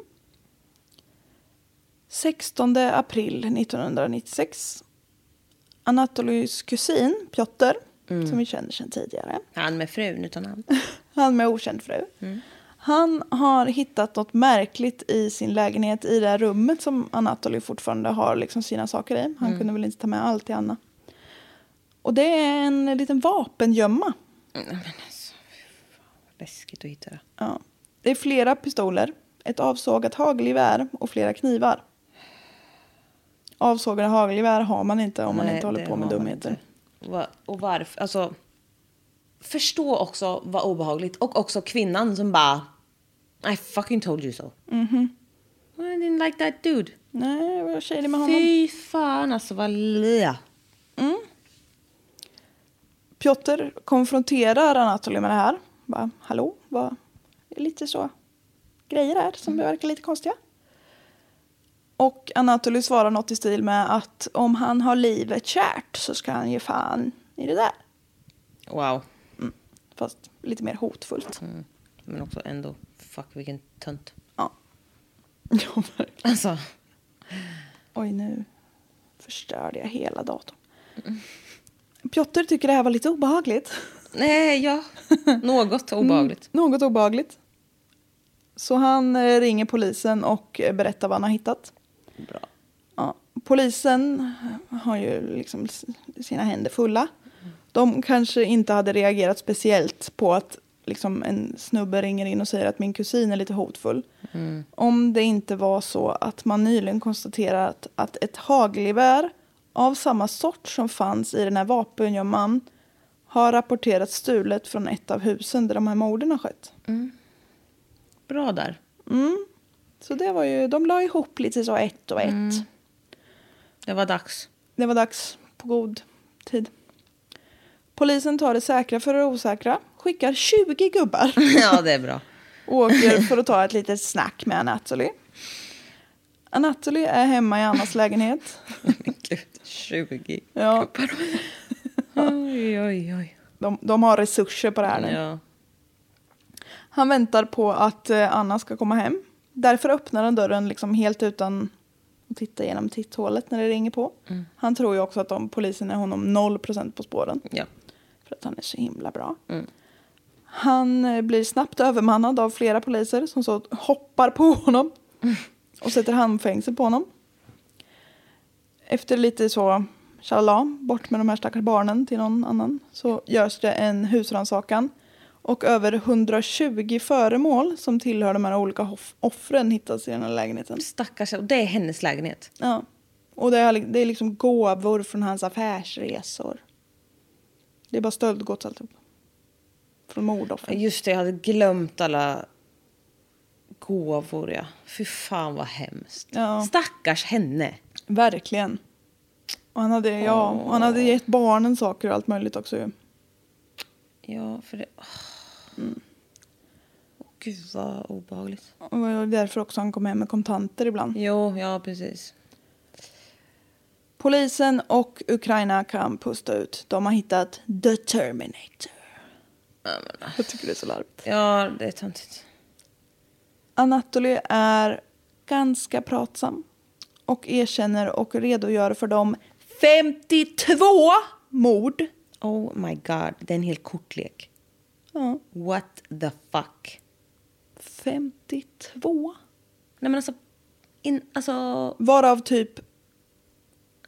16 april 1996. Anatolys kusin, Piotr, som vi känner sedan tidigare,
Han med frun utan han.
han med okänd fru.
Mm.
Han har hittat något märkligt i sin lägenhet i det här rummet som Anatoly fortfarande har liksom sina saker i.
Mm.
Han kunde väl inte ta med allt till Anna. Och det är en liten vapengömma.
Läskigt att hitta det.
Ja. Det är flera pistoler, ett avsågat hagelgevär och flera knivar. Avsågade hagelgevär har man inte om man
Nej,
inte håller
det
på med
har man
dumheter.
inte. Va- Och varför? Alltså, förstå också vad obehagligt. Och också kvinnan som bara... I fucking told you so. Mhm. I didn't like that dude.
Nej, vad tjejig med honom.
Fy fan alltså vad lä.
Piotr konfronterar Anatoly med det här. Bara, hallå, vad det är lite så grejer här som verkar lite konstiga. Och Anatoly svarar något i stil med att om han har livet kärt så ska han ge fan i det där.
Wow.
Fast lite mer hotfullt.
Men också ändå, fuck vilken tönt.
Ja. Ja, verkligen.
Alltså.
Oj, nu förstörde jag hela datorn. Mm. Piotr tycker det här var lite obehagligt.
Nej, ja. Något obehagligt.
Mm, Något obehagligt. Så han eh, ringer polisen och eh, berättar vad han har hittat.
Bra.
Ja, polisen har ju liksom s- sina händer fulla. De kanske inte hade reagerat speciellt på att liksom en snubbe ringer in och säger att min kusin är lite hotfull. Om det inte var så att man nyligen konstaterat att ett hagelgevär av samma sort som fanns i den här vapengömman har rapporterats stulet från ett av husen där de här morden har skett.
Bra där.
Mm. Så det var ju, de la ihop lite så ett och ett.
Det var dags.
Det var dags på god tid. Polisen tar det säkra för det osäkra, skickar 20 gubbar
Ja, det är bra.
och åker för att ta ett litet snack med Anatoly. Anatoly är hemma i Annas lägenhet.
Men gud, 20.
Ja,
Oj, oj, oj.
de, de har resurser på det här nu.
Ja.
Han väntar på att eh, Anna ska komma hem. Därför öppnar han dörren liksom helt utan att titta genom titthålet när det ringer på. Han tror ju också att de, polisen är honom 0% på spåren.
ja.
För att han är så himla bra. Han eh, blir snabbt övermannad av flera poliser som så hoppar på honom. Och sätter handfängsel på honom. Efter lite så tjalala, bort med de här stackars barnen till någon annan. Så görs det en husrannsakan. Och över 120 föremål som tillhör de här olika hoff- offren hittas i den här lägenheten.
Stackars, och det är hennes lägenhet.
Ja. Och det är, det är liksom gåvor från hans affärsresor. Det är bara stöldgods alltihop. Från
Ja,
mordoffer.
Just det, jag hade glömt alla gåvor. Ja. Fy fan vad hemskt.
Ja.
Stackars henne.
Verkligen. Och han hade, ja, och han hade gett barnen saker och allt möjligt också ju.
Ja, för det... Oh. Gud vad obehagligt.
Och det var därför också han kom hem med kontanter ibland.
Jo, ja precis.
Polisen och Ukraina kan pusta ut. De har hittat The Terminator.
alltså.
Jag tycker det är så larvigt.
Ja, det är töntigt.
Anatoly är ganska pratsam och erkänner och redogör för de 52 mord.
Oh my god, det är en hel kortlek.
Ja,
What the fuck?
52.
Nej men alltså... In, alltså
Varav typ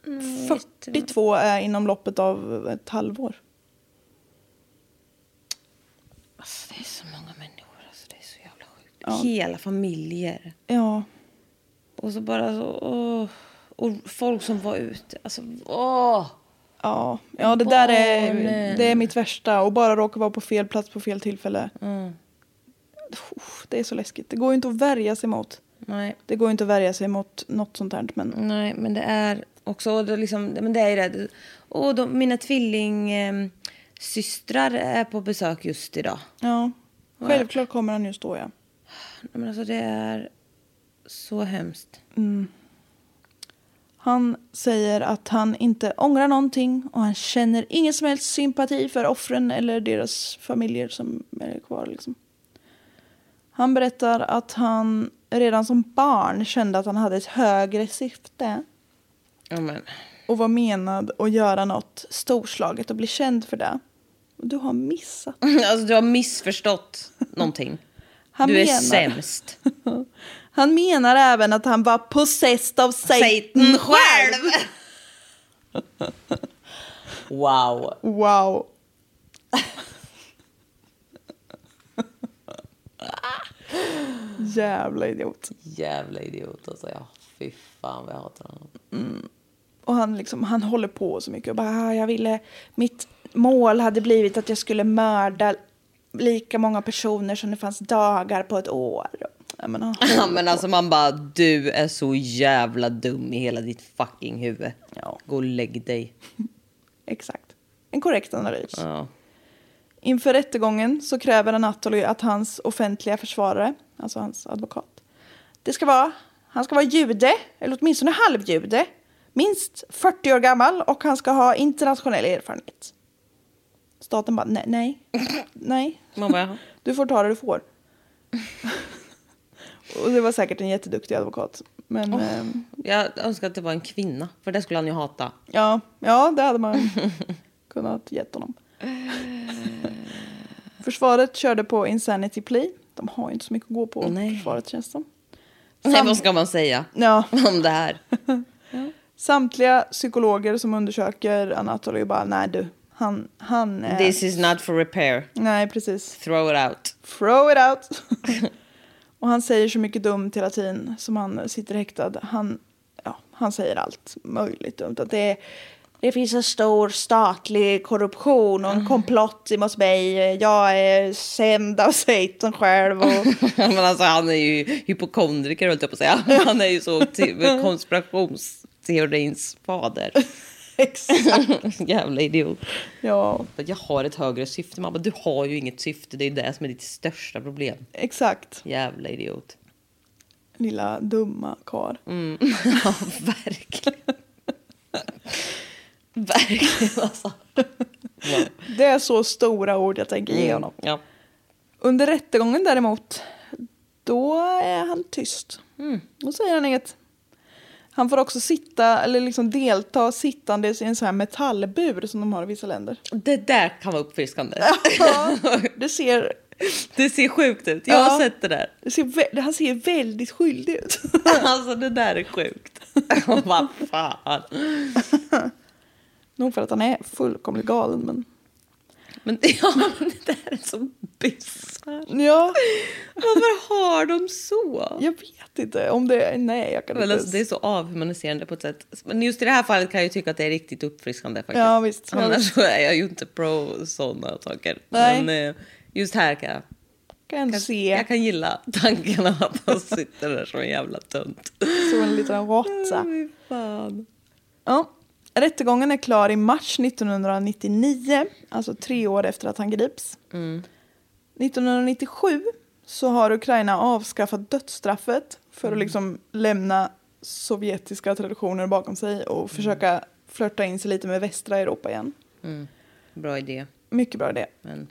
mm,
42 är inom loppet av ett halvår.
Alltså, det är så många människor. Alltså, det är så jävla sjukt. Hela familjer.
Ja,
Och så bara så... Åh. Och folk som var ute. Alltså, åh!
ja, ja det där är, det är mitt värsta. Och bara råka vara på fel plats på fel tillfälle.
Mm.
Uff, Det är så läskigt. Det går ju inte att värja sig mot.
Nej.
Det går ju inte att värja sig mot något sånt här. Men
Nej, men det är också... och Det är liksom, men det är ju det. Och de, mina tvillingsystrar är på besök just idag.
ja, självklart kommer han just då ja.
Nej, Men alltså, det är så hemskt.
Han säger att han inte ångrar någonting och han känner ingen som helst sympati för offren eller deras familjer som är kvar. Liksom. Han berättar att han redan som barn kände att han hade ett högre syfte
Ja, men...
och var menad att göra något storslaget och bli känd för det. Och Du har missat.
Alltså, du har missförstått någonting.
Han
du är
menar-
sämst.
Han menar även att han var possessed av Satan själv.
wow.
Wow. Jävla idiot.
Jävla idiot alltså. Ja, fy fan vad jag hatar honom.
Och han, liksom, han håller på så mycket och bara, "Ah, jag ville, mitt mål hade blivit att jag skulle mörda lika många personer som det fanns dagar på ett år. Ja, men han
Ja, men alltså man bara, du är så jävla dum i hela ditt fucking huvud.
Ja.
Gå och lägg dig.
Exakt. En korrekt analys.
Ja.
Inför rättegången så kräver Anatoly att hans offentliga försvarare, alltså hans advokat, det ska vara, han ska vara jude, eller åtminstone halvjude, minst 40 år gammal och han ska ha internationell erfarenhet. Staten bara, nej, nej, nej,
Man bara, "Jaha."
du får ta det du får. och det var säkert en jätteduktig advokat. Men ehm,
jag önskar att det var en kvinna, för det skulle han ju hata.
ja, ja, det hade man kunnat gett honom. Försvaret körde på Insanity Plea. De har ju inte så mycket att gå på,
Nej.
försvaret känns som.
Nej, vad ska man säga
Ja,
om det här?
samtliga psykologer som undersöker Anatoly bara, nej du, han, han är...
This is not for repair.
Nej, precis.
Throw it out.
Throw it out! och han säger så mycket dumt hela tiden som han sitter häktad. Han, ja, han säger allt möjligt dumt. Att det är, det finns en stor statlig korruption och en komplott emot mig. Jag är sänd av Satan själv. Och,
Men alltså han är ju hypokondriker höll jag på att säga. Han är ju så te- konspirationsteorins fader.
exakt.
Jävla idiot.
Ja,
Jag har ett högre syfte. Man bara, du har ju inget syfte. Det är det som är ditt största problem.
exakt.
Jävla idiot.
Lilla dumma karl.
Ja, verkligen. verkligen alltså.
Det är så stora ord jag tänker
Mm.
ge honom.
Ja.
Under rättegången däremot, då är han tyst.
Mm.
Då säger han inget. Han får också sitta, eller liksom delta sittandes i en sån här metallbur som de har i vissa länder.
Det där kan vara uppfriskande.
Ja, det ser,
Det ser sjukt ut. Jag har
Ja.
sett det där.
det ser, vä- han ser väldigt skyldig ut.
Alltså det där är sjukt. Vad fan.
Nog för att han är fullkomligt galen, men...
Men ja, men det där är så bisarrt.
Ja,
Varför har de så?
jag vet inte om det är... Nej, jag kan
Men
inte...
alltså, det är så avhumaniserande på ett sätt. Men just i det här fallet kan jag ju tycka att det är riktigt uppfriskande faktiskt.
Ja, visst.
Annars så är jag ju inte pro sådana saker.
Nej.
Men eh, just här kan jag,
kan jag se
jag kan gilla tankarna att han sitter där som en jävla tunt.
som en liten råtta.
Fy fan.
Ja. Rättegången är klar i mars 1999, alltså tre år efter att han grips. 1997 så har Ukraina avskaffat dödsstraffet för att liksom lämna sovjetiska traditioner bakom sig och försöka flörta in sig lite med västra Europa igen.
Bra idé.
Mycket bra idé.
Men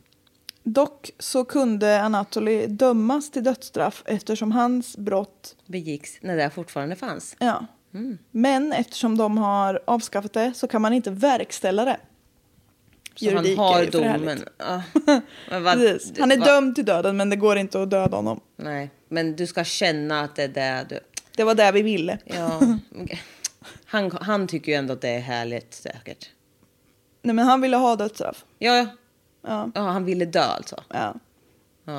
Dock så kunde Anatoly dömas till dödsstraff eftersom hans brott
begicks när det här fortfarande fanns.
Ja.
Mm.
Men eftersom de har avskaffat det så kan man inte verkställa det.
Så han
Juridik
har
är ju för härligt.
domen. Ja. Men vad-
Precis. Han är
vad-
dömd till döden men det går inte att döda honom.
Nej, men du ska känna att det är det du...
Det var det vi ville.
Ja. Han, han tycker ju ändå att det är härligt säkert.
Nej men han ville ha dödsstraff.
Ja, ja.
Ja.
ja han ville dö alltså.
Ja.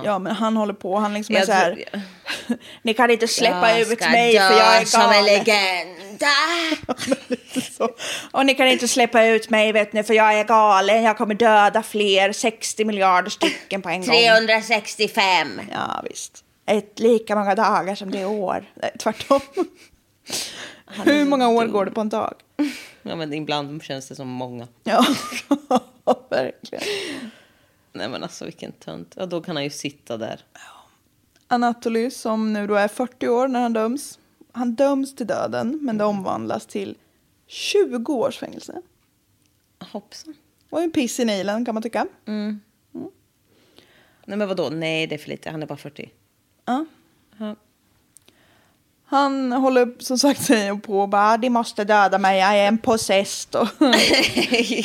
Ja. men han håller på, han liksom är
Jag
så här.
tror-
Ni kan inte släppa
Jag
ut
ska
mig
dö
för jag är
som en
galen. Ah!
legend.
Så. Och ni kan inte släppa ut mig vet ni för jag är galen, jag kommer döda fler, 60 miljarder stycken på en gång.
365.
Ja, visst. Ett lika många dagar som det är år. Nej, tvärtom. Hur många år går det på en dag?
Ja, men ibland känns det som många.
Ja, verkligen.
Nej, men alltså vilken tönt. Ja, då kan han ju sitta där.
Anatoly, som nu då är 40 år när han döms, han döms till döden, men det omvandlas till 20 års fängelse.
Hoppsan.
Och en piss i Nilen kan man tycka.
Nej, men vadå? Nej, det är för lite. Han är bara 40.
Ja.
Ja.
Han håller som sagt sig på och bara, de måste döda mig, jag är en possessed och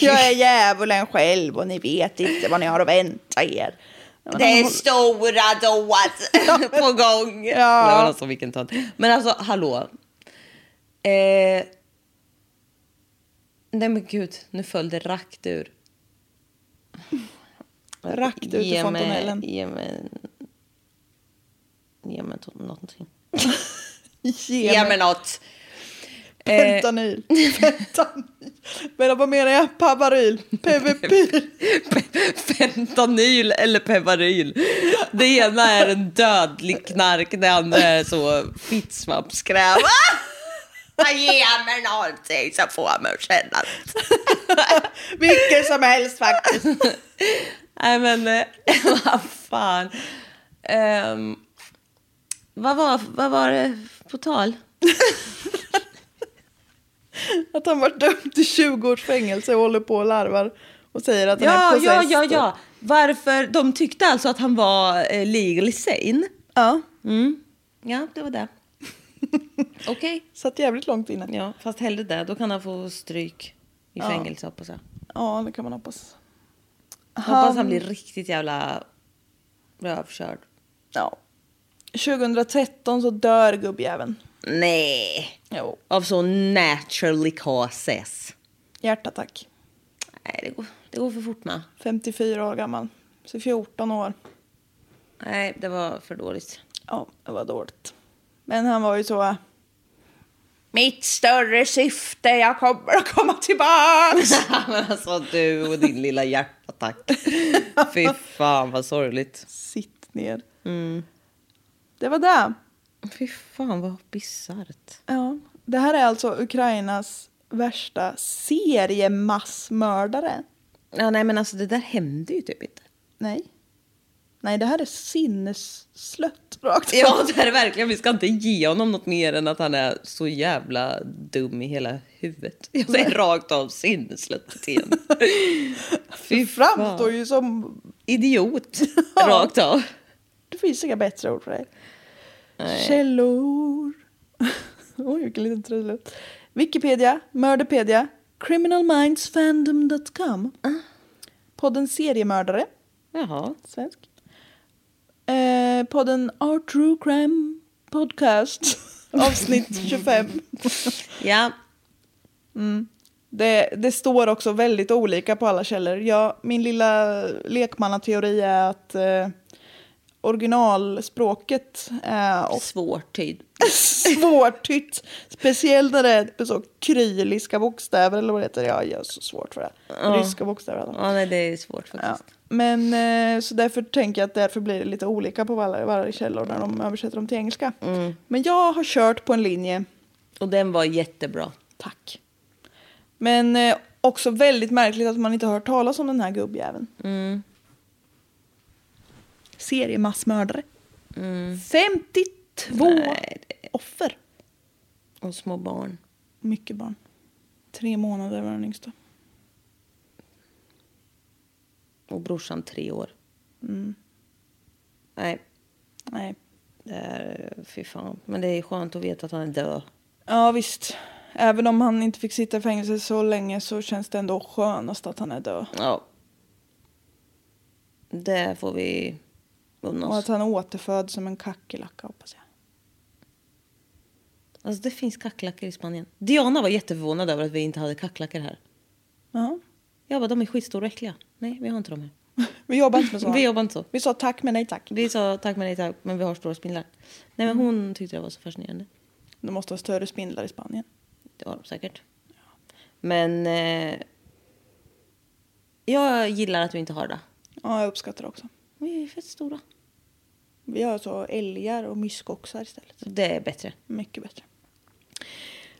jag är djävulen själv och ni vet inte vad ni har att vänta er.
Det är stora dåd på gång.
Ja.
Nej, men alltså vilken tönt. Men alltså hallå. Eh... Nej men gud, nu föll det rakt ur.
Rakt ut ur
Ge mig-
fontanellen.
Ge mig... Ge mig to- någonting.
Ge
Ge
mig
mig något. Eh,
Pentanyl. Pentanyl. Men vad menar jag? Pavaryl. PVP.
Fentanyl eller Pevaryl. Det ena är en dödlig knark, det andra är så fittsvampskräm. Ah! Ge mig någonting som får mig att känna att-
Vilken som helst faktiskt.
Nej men, eh, vad fan. Ehm, vad, var, vad var det på tal?
Att han var dömd till 20 års fängelse och håller på och larvar. Och säger att han är
Ja, ja,
possessed.
ja, ja. Varför? De tyckte alltså att han var eh, legally sane. Mm.
ja.
Ja, det var det. Okej.
Satt jävligt långt inne. Ja.
Ja, fast hellre det. Då kan han få stryk i fängelse hoppas jag.
ja, det kan man hoppas.
Hoppas han blir riktigt jävla rövkörd.
Ja. 2013 så dör gubbjäveln.
Nej.
Jo.
Av så naturally causes.
Hjärtattack.
Nej, det går, det går för fort med.
54 år gammal. Så 14 år.
Nej, det var för dåligt.
Ja, det var dåligt. Men han var ju så... äh, Mitt större syfte, jag kommer att komma tillbaks.
Men alltså du och din lilla hjärtattack. Fy fan vad sorgligt.
Sitt ner.
Mm.
Det var det.
Fy fan vad bisarrt.
Ja. Det här är alltså Ukrainas värsta seriemassmördare.
Ja, nej men alltså det där hände ju typ inte.
Nej. Nej, det här är sinnesslött rakt
Ja det är det verkligen. Vi ska inte ge honom något mer än att han är så jävla dum i hela huvudet. Jag säger rakt av sinneslött beteende. Fy
Det framstår ju som...
Idiot. Rakt av.
Det finns inga bättre ord för det. Källor. Oj, vilken liten trudelutt. Wikipedia, Mörderpedia, criminalmindsfandom.com. Podden Seriemördare,
Jaha.
svensk. Eh, podden Our True Crime Podcast, avsnitt 25.
Ja.
Det, det står också väldigt olika på alla källor. Ja, min lilla lekmannateori är att eh, originalspråket är ofta
Svår tid.
svårtytt. Speciellt när det är så kryliska bokstäver eller vad det heter. Ja, jag är så svårt för det. Ryska bokstäver. Alltså.
Ja nej det är svårt
Ja.
faktiskt.
Men eh, så därför tänker jag att därför blir det lite olika på varje, varje källor när de översätter dem till engelska.
Mm.
Men jag har kört på en linje.
Och den var jättebra.
Tack. Men eh, också väldigt märkligt att man inte har hört talas om den här gubbjäveln.
Mm.
Seriemassmördare.
Mm.
52 offer.
Och små barn.
Mycket barn. Tre månader var den yngsta.
Och brorsan tre år. Mm. Nej,
Nej.
det är fy fan. Men det är skönt att veta att han är död.
Ja visst. Även om han inte fick sitta i fängelse så länge så känns det ändå skönast att han är död.
Ja. Det får vi unna
Och
oss.
att han återföds som en kackerlacka hoppas jag.
Alltså det finns kackerlackor i Spanien. Diana var jätteförvånad över att vi inte hade kackerlackor här.
Ja.
Jag bara, de är skitstora och äckliga. Nej, vi har inte dem här.
Vi jobbar inte med sådana.
Vi jobbar inte så.
Vi sa tack men nej tack.
Vi sa tack men nej tack, men vi har stora spindlar. Nej, men hon tyckte det var så fascinerande.
De måste ha större spindlar i Spanien.
Det har de säkert. Men eh, jag gillar att vi inte har det.
Ja, jag uppskattar det också.
Vi är fett stora.
Vi har så älgar och myskoxar istället.
Det är bättre.
Mycket bättre.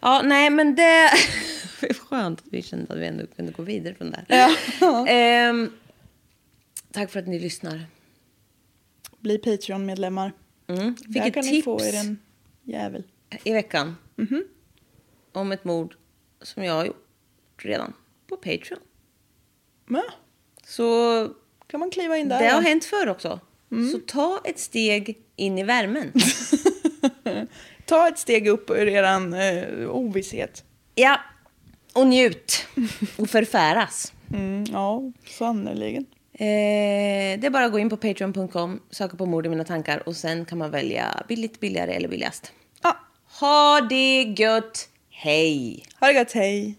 Ja, nej, men det... det är skönt att vi kände att vi ändå kunde gå vidare från det. här. Ehm, tack för att ni lyssnar.
Bli Patreon-medlemmar.
Mm. Fick
Där
ett
kan
tips
ni få er en Mhm. jävel.
i veckan om ett mord som jag har gjort redan på Patreon.
Men,
Så
kan man kliva in där? Mm.
det har hänt förr också. Så ta ett steg in i värmen.
Ta ett steg upp ur er eh, ovisshet.
ja, och njut och förfäras.
Mm, ja, sannerligen.
Eh, det är bara att gå in på patreon.com, söka på mord i mina tankar och sen kan man välja billigt, billigare eller billigast.
Ja,
Ha det gött! Hej!
ha det gott, hej!